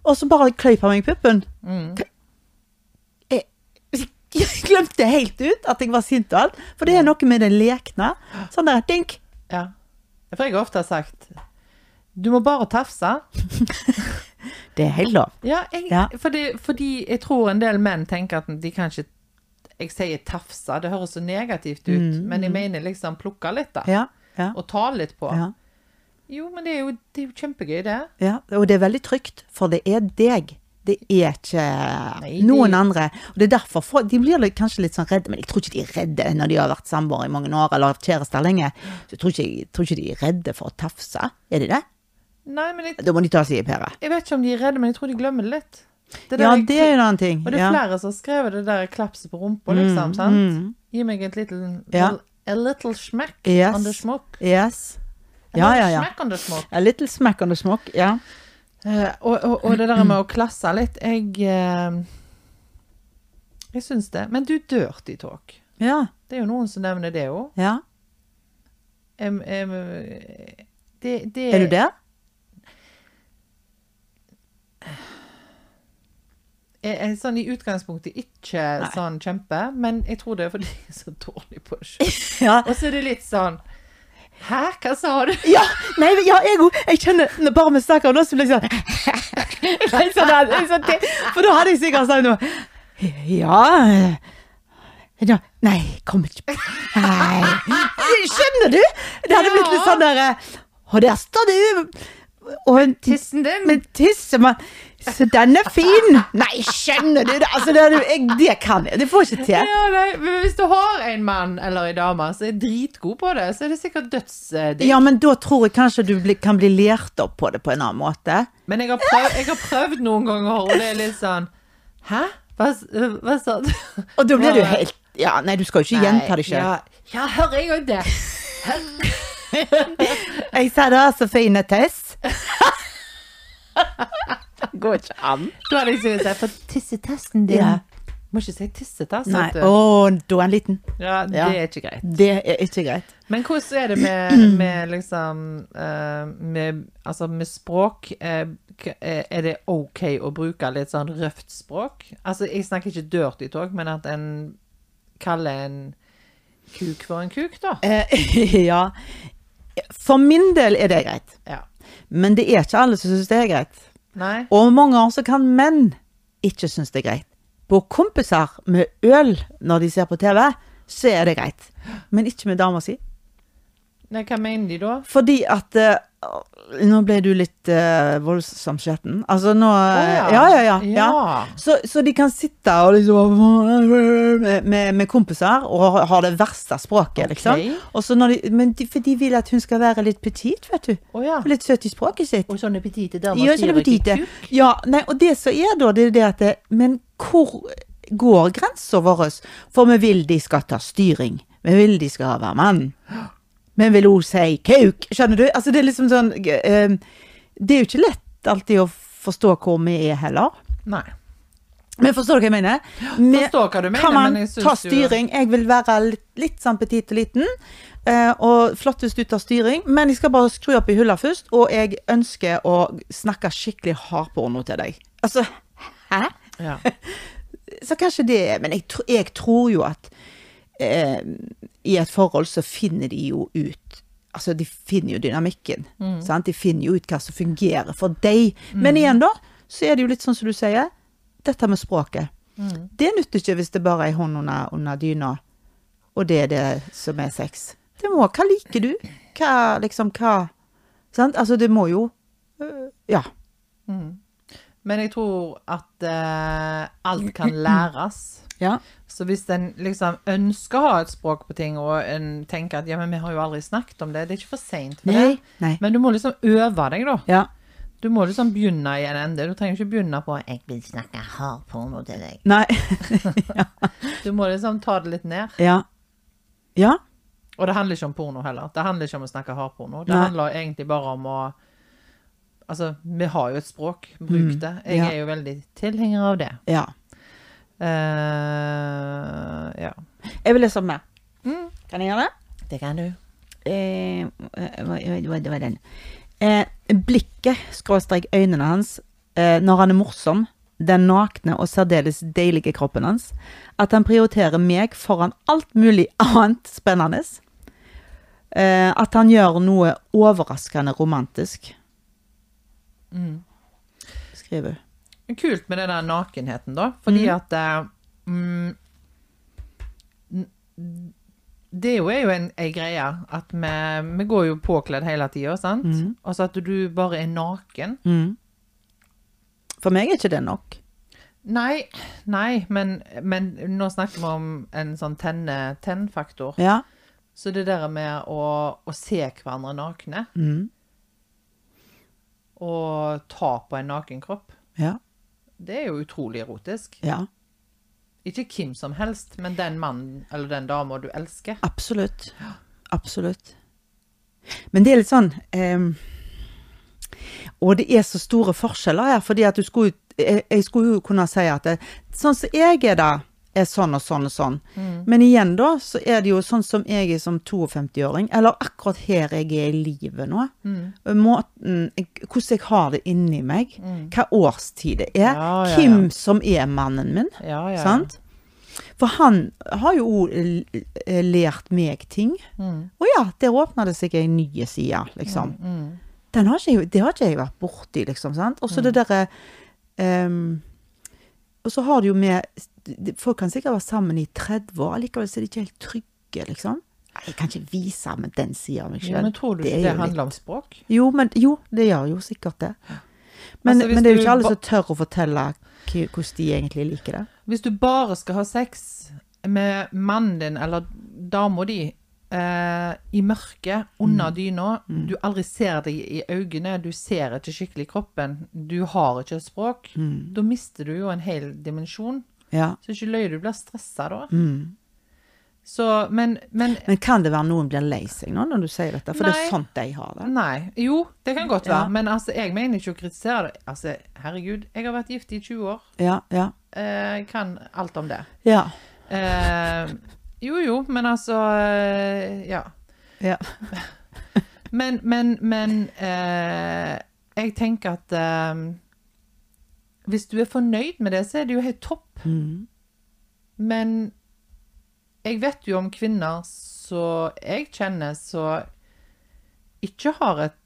A: og så bare kløyp han meg i puppen. Hva- Jeg, jeg glemte helt ut at jeg var sint og alt, for det er noe med det lekne. Sånn der, dink.
B: ja. For jeg har ofte sagt Du må bare tafse.
A: Det er helt lov.
B: Ja, jeg,
A: Ja.
B: Fordi, fordi jeg tror en del menn tenker at de kan ikke Jeg sier tafse, det høres så negativt ut, men jeg mener liksom plukke litt, da.
A: Mm. Ja, ja.
B: Og ta litt på.
A: Ja.
B: Jo, men det er jo, det er jo kjempegøy, det.
A: Ja, og det er veldig trygt, for det er deg. Det er ikke
B: Nei,
A: noen
B: det-
A: andre. Og det er derfor folk, De blir litt- kanskje litt sånn redde, men jeg tror ikke de er redde når de har vært samboere i mange år eller hatt kjærester lenge. Så jeg tror, ikke, jeg tror ikke de er redde for å tafse. Er de det?
B: Nei, men jeg,
A: Da må de ta seg i pæret.
B: jeg vet ikke om de er redde, men jeg tror de glemmer det litt. Det der
A: Ja,
B: jeg-
A: det er jo en annen ting.
B: Og det er
A: ja. Mm,
B: flere som har skrevet det der klapset på rumpa, liksom. sant? Gi meg et little,
A: Ja.
B: a little smack
A: Yes.
B: on the smoke.
A: Yes.
B: A
A: Ja,
B: little
A: ja, ja.
B: Smack on the smoke.
A: A little smack on the smock. Ja.
B: Eh, og, og, og det der med å klasse litt Jeg eh, Jeg syns det. Men du, dirty talk.
A: Ja.
B: Det er jo noen som nevner det òg.
A: ja.
B: Em, em, eh, det, det,
A: Er du der?
B: Jeg, jeg, sånn i utgangspunktet ikke
A: Nei.
B: sånn kjempe, men jeg tror det er fordi jeg er så dårlig på
A: *laughs*
B: det sjøl.
A: Ja.
B: Og så er det litt sånn Hæ, hva sa du?
A: Ja, nei, ja, jeg òg. Jeg kjenner når bare vi snakker om det, så blir jeg sånn *laughs* Jeg sa det, jeg sa det. For da hadde jeg sikkert sagt noe Ja ja, Nei, kom ikke Nei. Skjønner du? Det hadde blitt litt sånn der eh, Og der står du og en tiss
B: Tissen din?
A: med tissemann. Så den er fin! Nei, skjønner du det? Altså, det, hadde- jeg, det kan jeg. Det får jeg ikke til.
B: Ja, nei, men hvis du har en mann eller en dame som er dritgod på det, så er det sikkert dødsdigg.
A: Ja, men da tror jeg kanskje du bli, kan bli lært opp på det på en annen måte.
B: Men jeg har, prøvd, jeg har prøvd noen ganger, og det er litt sånn Hæ? Hva, s- hva sa du?
A: Og da blir du
B: Ja.
A: helt Ja, nei, du skal jo ikke gjenta det sjøl.
B: Ja, ja hører jeg jo det.
A: Jeg sa det, så fine Tess. det *laughs* går ikke an.
B: Da hadde jeg syntes jeg For tissetesten din
A: Ja.
B: Må ikke si tissetest,
A: Nei.
B: vet du.
A: Å, da er han liten.
B: Ja, det
A: Ja.
B: er ikke greit.
A: Det er ikke greit.
B: Men hvordan er det med,
A: *clears throat*
B: med liksom eh, med, Altså med språk eh, k- eh, Er det OK å bruke litt sånn røft språk? Altså, jeg snakker ikke dirty talk, men at en kaller en kuk for en kuk, da.
A: Eh, *laughs* ja. For min del er det greit,
B: Ja.
A: men det er ikke alle som syns det er greit.
B: Nei?
A: Og mange ganger så kan menn ikke synes det er greit. På kompiser med øl når de ser på TV, så er det greit. Men ikke med dama si.
B: Nei, hva mener de da?
A: Fordi at eh, Nå ble du litt eh, voldsom, Skjetten. Altså nå
B: Å, ja.
A: ja, ja, ja. ja.
B: Ja.
A: Så, så de kan sitte og liksom med, med, med kompiser og ha- ha det verste språket,
B: Ok.
A: liksom. Og så når de, men de, for de vil at hun skal være litt petit, vet du.
B: Å ja.
A: Litt søt i språket sitt.
B: Og sånne petite damer
A: Ja, ikke det petite. Ja, nei, og det som er da, det er det at det, Men hvor går grensa vår? For vi vil de skal ta styring. Vi vil de skal være mann. Men vil òg si kuk. Skjønner du? Altså, det er liksom sånn eh, Det er jo ikke lett alltid å forstå hvor vi er heller.
B: Nei.
A: Men forstår du hva jeg mener? Vi
B: Forstår hva du mener,
A: kan man
B: men jeg syns
A: ta
B: jo-
A: styring. Jeg vil være litt, litt sånn petit og liten. eh, og flott hvis du tar styring, men jeg skal bare skru opp i hylla først. Og jeg ønsker å snakke skikkelig hardporno til deg. Altså, hæ?
B: Ja.
A: Så kanskje det er Men jeg, tr- jeg tror jo at eh, i et forhold så finner de jo ut Altså, de finner jo dynamikken. Sant? De finner jo ut hva som fungerer for deg. Men igjen, da, så er det jo litt sånn som du sier, dette med språket. Det nytter ikke hvis det bare er ei hånd under, under dyna, og det er det som er sex. Det må Hva liker du? Hva liksom Hva Sant? Altså, det må jo øh, Ja.
B: Men jeg tror at eh, alt kan læres.
A: Ja.
B: Så hvis en liksom ønsker å ha et språk på ting, og en tenker at ja, men vi har jo aldri snakket om det, det er ikke for seint for
A: Nei.
B: det.
A: Nei.
B: Men du må liksom øve deg, da.
A: Ja.
B: Du må liksom begynne i en ende. Du trenger ikke begynne på 'jeg vil snakke hard porno til deg'.
A: Nei.
B: Du må liksom ta det litt ned.
A: Ja. Ja.
B: Og det handler ikke om porno heller. Det handler ikke om å snakke hardporno. Det
A: Nei.
B: handler egentlig bare om å Altså, vi har jo et språk. Bruk det. Jeg
A: ja.
B: er jo veldig tilhenger av det.
A: ja.
B: Eh, ja.
A: Jeg vil lese mer. Kan jeg gjøre det?
B: Det kan du.
A: Mm. eh, hva- hva- hva- det var den. Eh, blikket, skråstrek øynene hans, eh, når han er morsom, den nakne og særdeles deilige kroppen hans, at han prioriterer meg foran alt mulig annet spennende, eh, at han gjør noe overraskende romantisk. Mm. Skriver hun.
B: Kult med den der nakenheten, da. Fordi at eh, mm, n- Det er jo, er jo en, en greie at vi, vi går jo påkledd hele tida, sant? Altså at du bare er naken.
A: Mm. For meg er ikke det nok.
B: Nei, nei, men, men nå snakker vi om en sånn tenne- tennfaktor.
A: Ja.
B: Så det der med å, å se hverandre nakne,
A: Mm.
B: og ta på en naken kropp,
A: Ja.
B: det er jo utrolig erotisk.
A: ja.
B: Ikke hvem som helst, men den mannen eller den dama du elsker.
A: Absolutt. Absolutt. Men det er litt sånn ehm, Og det er så store forskjeller her, fordi at du skulle jo- jeg, jeg skulle jo kunne si at det, sånn som jeg er da, er sånn og sånn og sånn.
B: Mm.
A: Men igjen da, så er det jo sånn som jeg er som 52-åring, eller akkurat her jeg er i livet nå.
B: Mm.
A: Måten, jeg- hvordan jeg har det inni meg, hva årstid det er,
B: Mm. Ja, ja,
A: hvem som er mannen min.
B: Ja, ja, ja.
A: Sant? For han har jo l- l- lært meg ting.
B: Mm.
A: Og ja, der åpna det seg en ny side, liksom.
B: mm.
A: Den har ikke, jeg- det har ikke jeg vært borti, liksom. sant? Og så det derre ehm, Og så har det jo med Folk kan sikkert være sammen i 30 år, likevel så er de ikke helt trygge, liksom. Nei, Jeg kan ikke vise med den sida av meg
B: Ja,
A: sjøl.
B: men tror du ikke det handler om språk?
A: Jo, men, jo, det gjør jo sikkert det. Men,
B: Altså, hvis
A: men det er jo
B: du
A: ikke alle
B: ba-
A: som tør å fortelle k- hvordan de egentlig liker det.
B: Hvis du bare skal ha sex med mannen din eller dama di eh, i mørket, under dyna, du aldri ser deg i øynene, du ser ikke skikkelig kroppen, du har ikke et språk, da mister du jo en hel dimensjon.
A: Ja.
B: Så ikke løy du blir stressa
A: Mm.
B: da. Så, men, men
A: Men kan det være noen blir lei seg nå når du sier dette? For det
B: Nei.
A: er sånt de har det.
B: Nei. Jo, det kan godt være.
A: Ja.
B: Men altså, jeg mener ikke å kritisere det. Altså, herregud, jeg har vært gift i 20 år.
A: Ja, ja.
B: Eh, kan alt om det.
A: Ja.
B: Eh, jo, jo, men altså eh, Ja.
A: ja.
B: Men, men, men eh, Jeg tenker at eh, Hvis du er fornøyd med det, så er det jo helt topp.
A: Mm.
B: Men jeg vet jo om kvinner som jeg kjenner, som ikke har et,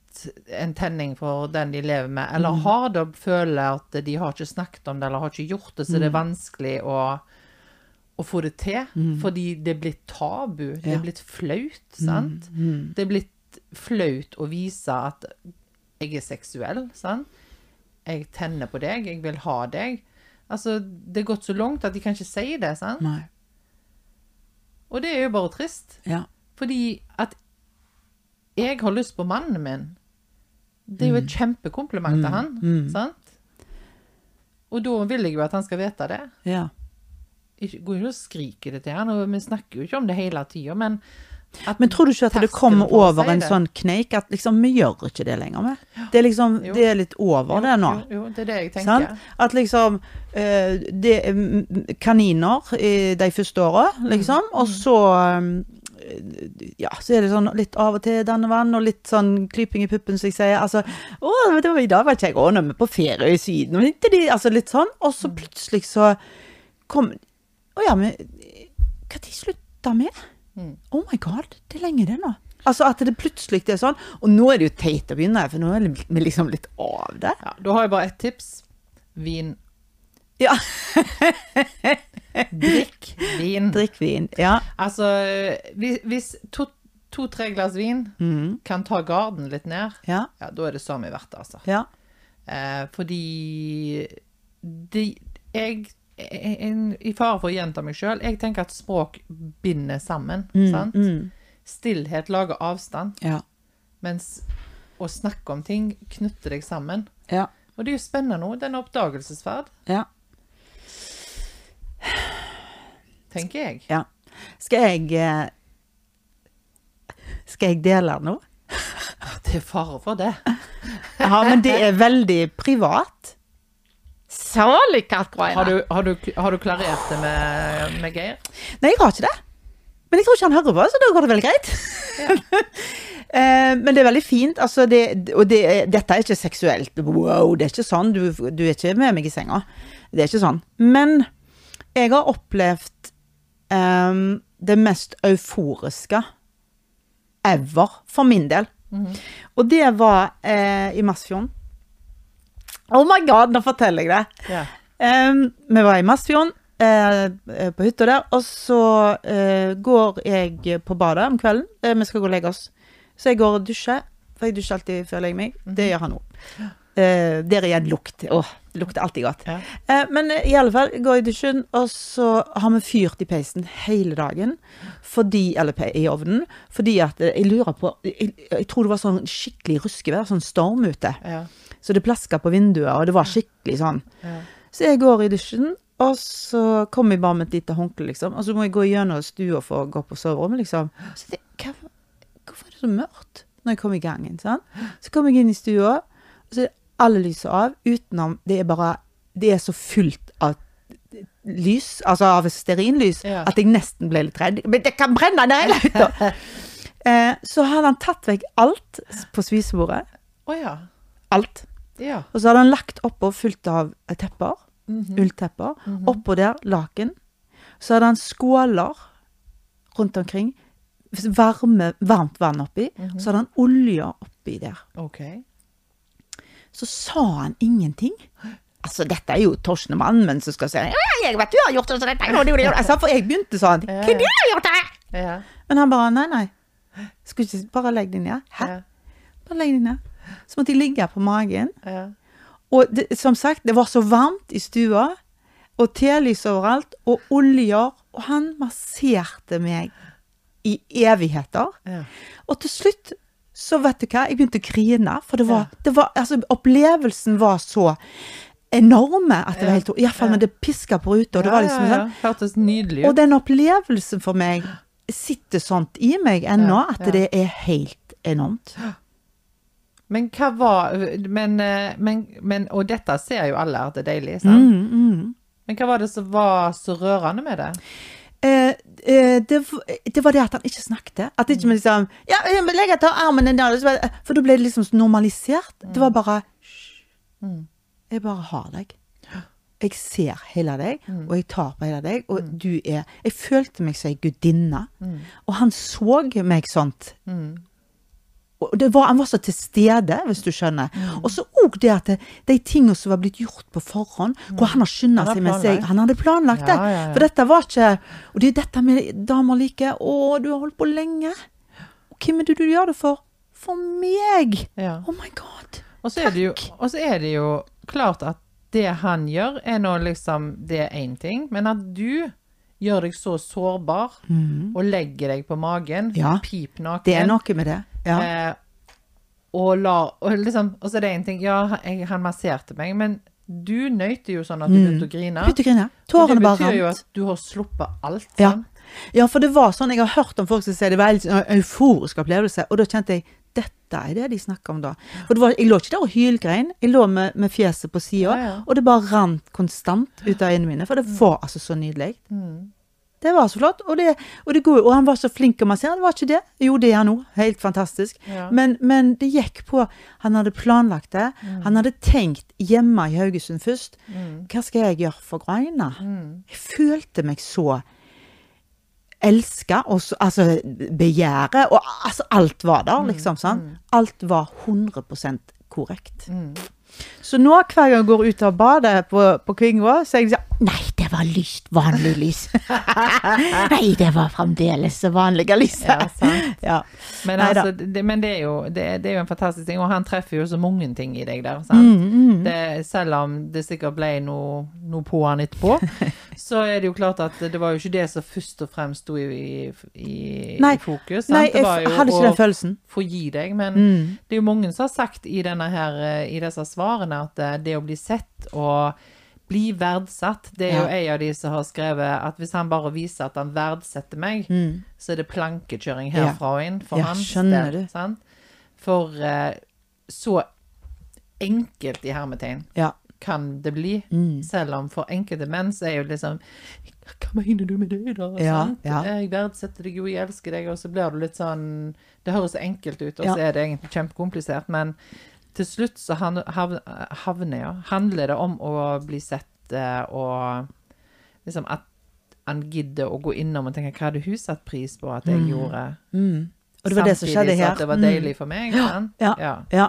B: en tenning for den de lever med, eller har det og føler at de har ikke snakket om det, eller har ikke gjort det, så det er vanskelig å, å få det til. Fordi det er blitt tabu. Det
A: Ja. Mm.
B: er blitt flaut, sant? Det er blitt flaut å vise at jeg er seksuell, sant? Jeg tenner på deg, jeg vil ha deg. Altså, det er gått så langt at de kan ikke si det, sant?
A: Nei.
B: Og det er jo bare trist.
A: Ja.
B: Fordi at jeg har lyst på mannen min. Det er jo et
A: Mm.
B: kjempekompliment til han, sant? Og da vil jeg jo at han skal vite det.
A: Ja.
B: Ikke, går jo ikke og skriker det til han, og vi snakker jo ikke om det hele tida, men at
A: Men tror du ikke at det
B: terskelen
A: kommer
B: for å
A: over
B: si
A: en
B: det-
A: sånn kneik at liksom vi gjør ikke det lenger? Med. Det er liksom
B: Jo.
A: Det er litt over det nå.
B: Jo, jo, det er det jeg tenker.
A: Sant? At liksom eh, det, mm, Kaniner eh, de første åra,
B: Mm.
A: liksom. Og så eh, Ja, så er det sånn litt av og til danne vann, og litt sånn klyping i puppen, som jeg sier. Altså Å, det var i dag var ikke jeg Å, nå er vi på ferie i Syden. Og litt, altså litt sånn. Og
B: Mm.
A: så plutselig så kom Å ja, men Når slutta vi?
B: Mm.
A: Oh my god, det er lenge det nå. Altså at det plutselig det er sånn. Og nå er det jo teit å begynne, for nå er vi liksom litt av
B: *laughs*
A: det.
B: Ja, da har jeg bare ett tips. Vin.
A: Ja.
B: *laughs* Drikk vin.
A: Drikk vin. Ja.
B: Altså, hvis, hvis to-tre glass vin kan ta garden litt ned,
A: Ja.
B: ja, da er det så mye verdt, altså.
A: Ja.
B: Eh, fordi de, jeg jeg- jeg- I fare for å gjenta meg sjøl, jeg tenker at språk binder sammen. sant? mm. Stillhet lager avstand,
A: Ja.
B: mens å snakke om ting knytter deg sammen.
A: Ja.
B: Og det er jo spennende nå. Det er en oppdagelsesferd,
A: ja.
B: tenker jeg.
A: ja. Skal jeg eh, Skal jeg dele *laughs* noe?
B: Det er fare for det.
A: Ja, men det er veldig privat. Salig kattgreiene.
B: Har du, har du, har du klarert det med, med Geir?
A: Nei, jeg har ikke det. Men jeg tror ikke han hører på, så da går det vel greit. *laughs* Eh, Men det er veldig fint. Altså det, og det, dette er ikke seksuelt. Wow, det er ikke sånn. Du, du er ikke med meg i senga. Det er ikke sånn. Men jeg har opplevd eh, det mest euforiske ever, for min del. Og det var eh, i Masfjorden. Oh my god, nå forteller jeg det.
B: Ja.
A: Ehm, vi var i Masfjorden, eh, eh, på hytta der, og så eh, går jeg på badet om kvelden. Eh, vi skal gå og legge oss. Så jeg går og dusjer, for jeg dusjer alltid før jeg legger meg.
B: Mhm.
A: Det gjør han òg. Eh, der igjen lukt. Åh, det lukter alltid godt.
B: Ja.
A: Eh, men eh, i alle fall, går i dusjen, og så har vi fyrt i peisen hele dagen. Fordi, eller pe- i ovnen. Fordi at eh, jeg lurer på Jeg, jeg tror det var sånn skikkelig ruskevær, sånn storm ute.
B: Ja.
A: Så det plaska på vinduet, og det var skikkelig sånn.
B: Ja.
A: Så jeg går i dusjen, og så kommer jeg bare med et lite håndkle, liksom. Og så må jeg gå gjennom stua for å gå på soverommet, liksom. Så det, hva, hvorfor er det så mørkt når jeg kommer i gangen? Sånn? Så kommer jeg inn i stua, og så er alle lyset av, utenom Det er bare Det er så fullt av lys, altså av stearinlys,
B: Ja.
A: at jeg nesten ble litt redd. Men det kan brenne ned hele hytta!
B: *laughs*
A: Eh, Så hadde han tatt vekk alt på spisebordet.
B: Å ja.
A: Alt.
B: Ja.
A: Og så hadde han lagt oppå fullt av tepper, Mhm. ulltepper. Oppå der laken. Så hadde han skåler rundt omkring, varme, varmt vann oppi. Så hadde han olje oppi der.
B: OK.
A: Så sa han ingenting. Altså, dette er jo Torsten Mannmenn som skal si «Ja, 'Jeg vet du har gjort det, så dette er jo det du gjør.» altså, For jeg begynte sånn. 'Hva er det du har gjort?' her?»
B: Ja.
A: Men han bare 'Nei, nei. Skal ikke Bare legg deg ned.' Hæ?
B: Ja.
A: Bare legg deg ned. Så måtte jeg ligge på magen.
B: Ja.
A: Og det, som sagt, det var så varmt i stua, og telys overalt, og oljer. Og han masserte meg i evigheter.
B: Ja.
A: Og til slutt, så vet du hva, jeg begynte å grine, for det var, det var altså, opplevelsen var så enorme at det var helt Iallfall når det piska på ruta, og det var liksom
B: ja, ja.
A: sånn.
B: Hørtes nydelig
A: Og
B: ut.
A: den opplevelsen for meg sitter sånt i meg ennå,
B: Ja,
A: at
B: ja.
A: det er helt enormt.
B: Men hva var men, eh, men, men Og dette ser jo alle at det er deilig, sant? Men hva var det som var så rørende med det?
A: Eh, eh, det, v- det var det at han ikke snakket. At ikke
B: Mm.
A: vi liksom Ja, jeg må legge ta armen din der. og så bare- For da ble det liksom normalisert. Det
B: Mm.
A: var bare «Hysj, Jeg bare har deg. Jeg ser hele deg,
B: Mm.
A: og jeg tar på hele deg, og du er Jeg følte meg som ei gudinne.
B: Mm.
A: Og han så meg sånt. Og det var, han var så til stede, hvis du skjønner.
B: Mm.
A: Og så òg det at det, de tingene som var blitt gjort på forhånd, hvor han har skynda
B: Mm. Han har
A: seg mens jeg
B: planlagt.
A: Han hadde planlagt det.
B: Ja, ja, ja.
A: For dette var ikke Og det er dette med damer liker. Å, du har holdt på lenge. Og hvem er det du gjør det for? For meg!
B: Ja.
A: Oh my god.
B: Og så er det jo, og så er det jo klart at det han gjør, er nå liksom Det er én ting, men at du gjør deg så sårbar og legger deg på magen,
A: Ja.
B: pip naken
A: Det er noe med det. Ja.
B: eh, og lar Og liksom Og så er det én ting Ja, jeg, han masserte meg, men du nøyte jo sånn at du begynte å grine.
A: Mm. Begynte å grine.
B: Og det
A: Tårene bare
B: betyr jo
A: rant.
B: at du har sluppet alt.
A: Ja.
B: sant?
A: sånn. ja, for det var sånn. Jeg har hørt om folk som sier det var en sånn euforisk opplevelse, og da kjente jeg dette er det de snakker om da. For det var, jeg lå ikke der og hylgrein, jeg lå med, med fjeset på sida,
B: Ja, Mm. ja.
A: og det bare rant konstant ut av øynene mine, for det var altså så nydelig.
B: Mm.
A: Det var så flott, og, det, og, det gode, og han var så flink å massere, det var ikke det. Jo, det er han òg, helt fantastisk.
B: Ja.
A: Men, men det gikk på Han hadde planlagt det,
B: Mm.
A: han hadde tenkt hjemme i Haugesund først. Hva skal jeg gjøre for Graina?
B: Mm.
A: Jeg følte meg så elska, og så, altså begjæret,
B: Mm, Mm.
A: og altså alt var der, liksom. sant? Alt var 100 korrekt. Så nå hver gang jeg går ut av badet på, på Kvingo, så er jeg sånn Nei, det var lyst. Vanlig
B: *laughs*
A: lys. Nei, det var fremdeles det vanlige
B: Ja,
A: lyset.
B: sant.
A: *laughs* Ja.
B: Men,
A: Neida.
B: altså, det, men det, er jo, det, det er jo en fantastisk ting, og han treffer jo så mange ting i deg der. Sant?
A: Mm,
B: Det, selv om det sikkert ble noe, noe på han
A: *laughs*
B: etterpå, så er det jo klart at det var jo ikke det som først og fremst sto i, i,
A: Nei.
B: i fokus. Sant?
A: Nei,
B: det
A: jeg
B: var jo
A: f- hadde ikke den
B: å
A: følelsen.
B: få gi deg, men
A: Mm.
B: det er jo mange som har sagt i, denne her, eh, i disse svarene at eh, det å bli sett og bli verdsatt, det er jo
A: Ja.
B: en av de som har skrevet at hvis han bare viser at han verdsetter meg, så er det plankekjøring herfra og inn for
A: Mm. Ja,
B: hans
A: skjønner
B: del.
A: du.
B: Sant? For eh, så enkelt i hermetegn
A: Ja.
B: kan det bli,
A: Mm.
B: selv om for enkelte menn så er jo liksom Hva mener du med det, da?
A: Ja,
B: sant?
A: ja.
B: Jeg verdsetter deg jo, jeg elsker deg, og så blir det litt sånn Det høres enkelt ut, og
A: Ja.
B: så er det egentlig kjempekomplisert, men til slutt så han- hav- havner ja, handler det om å bli sett eh, og liksom at han gidder å gå innom og tenke hva hadde hun satt pris på at jeg gjorde?
A: Mm. Og det var det som skjedde
B: Samtidig så
A: her. Mm.
B: at det var deilig for meg. sant?
A: Ja. Ja.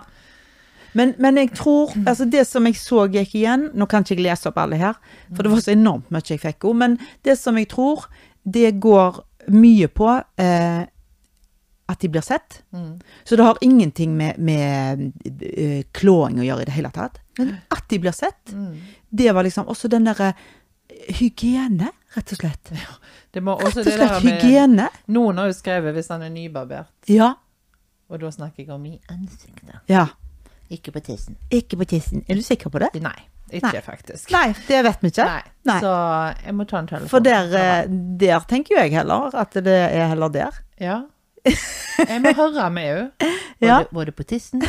A: Men, men jeg tror
B: Mm.
A: altså Det som jeg så gikk igjen Nå kan ikke jeg lese opp alle her, for det var så enormt mye jeg fikk om. Men det som jeg tror, det går mye på eh, at de blir sett.
B: Mm.
A: Så det har ingenting med, med eh, klåing å gjøre i det hele tatt.
B: Mm.
A: Men at de blir sett, det var liksom også den derre eh, hygiene, rett og slett.
B: Det må
A: Rett
B: også
A: og
B: det der
A: slett
B: med
A: hygiene.
B: Noen har jo skrevet hvis han er nybarbert,
A: Ja.
B: og da snakker jeg om i ansiktet.
A: ja.
B: Ikke på tissen.
A: Ikke på tissen. Er du sikker på det?
B: Nei. Ikke
A: Nei.
B: faktisk.
A: Nei, det vet vi ikke.
B: Nei.
A: Nei.
B: Så jeg må ta en telefon.
A: For der, eh, der tenker jo jeg heller at det er heller der. *laughs*
B: Ja. Jeg må høre med henne.
A: Ja.
B: Var det på tissen?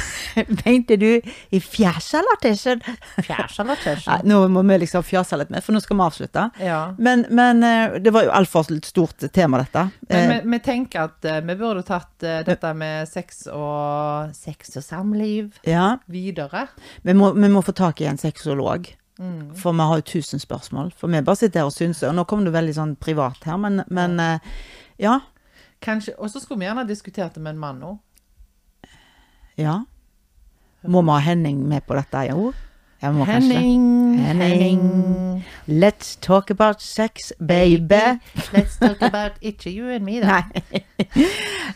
A: Mente du i fjeset eller tissen?
B: Fjærs eller
A: Nei,
B: tørsen?
A: nå må vi liksom fjase litt mer, for nå skal vi avslutte.
B: Ja.
A: Men, men eh, det var jo altfor stort tema, dette.
B: Men
A: Eh,
B: vi, vi tenker at eh, vi burde tatt eh, dette med sex og Sex og samliv
A: Eh, ja,
B: videre.
A: vi må, vi må få tak i en sexolog.
B: Mm.
A: For vi har jo tusen spørsmål. For vi bare sitter her og synser. Og nå kom du veldig sånn privat her, men, men eh, ja.
B: Kanskje, og så skulle vi gjerne diskutert det med en mann òg.
A: Ja. Må vi ha Henning med på dette jo? Ja, vi må kanskje det.
B: Henning,
A: Henning. Let's talk about sex, baby.
B: Let's talk about ikke you and me,
A: *laughs*
B: da.
A: Nei.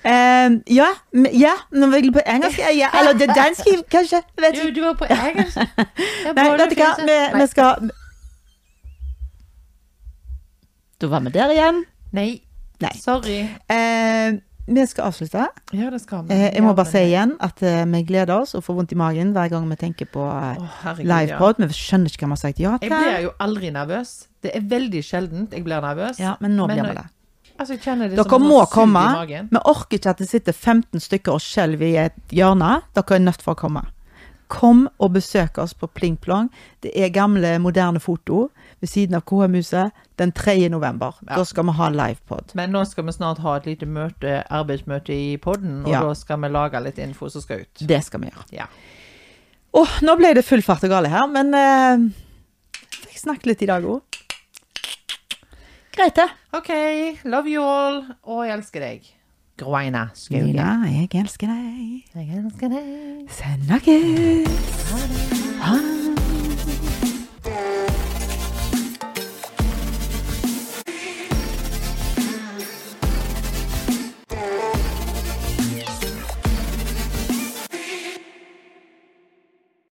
A: Ehm, ja, m- ja, nå vil jeg på engelsk ja, Eller det danske, kanskje. jeg Vet
B: Du,
A: ikke.
B: du var på
A: *laughs*
B: engelsk.
A: Nei,
B: Jeg bare
A: vet du hva,
B: fjeset.
A: vi,
B: Nei.
A: vi skal Da var vi der igjen.
B: Nei.
A: Nei.
B: Sorry.
A: Ehm, vi skal avslutte.
B: Ja, det skal vi.
A: Eh, jeg må bare si
B: ja.
A: igjen at eh, vi gleder oss og får vondt i magen hver gang vi tenker på
B: Å,
A: eh,
B: herregud, ja.
A: livepod. Vi skjønner ikke hva vi har sagt ja
B: Jeg blir
A: til.
B: jo aldri nervøs. Det er veldig sjeldent jeg blir nervøs.
A: Ja, men nå blir vi
B: når-
A: det.
B: Altså, jeg kjenner det
A: Dere
B: som
A: må
B: noe sug i
A: komme.
B: magen.
A: Vi orker ikke at det sitter 15 stykker og skjelver i et hjørne. Dere er nødt for å komme. Kom og besøk oss på Pling Plong. Det er gamle, moderne foto ved siden av KM-huset den 3. november. Da skal vi ha livepod.
B: Men nå skal vi snart ha et lite møte, arbeidsmøte i podden, og
A: Ja.
B: da skal vi lage litt info som skal ut.
A: Det skal vi gjøre.
B: Ja.
A: Åh, nå ble det full fart og gale her, men eh, fikk snakket litt i dag òg. Greit, det.
B: OK, love you all, og jeg elsker deg. Groina Skauge.
A: Lina, jeg elsker deg.
B: Jeg elsker deg.
A: Send noe.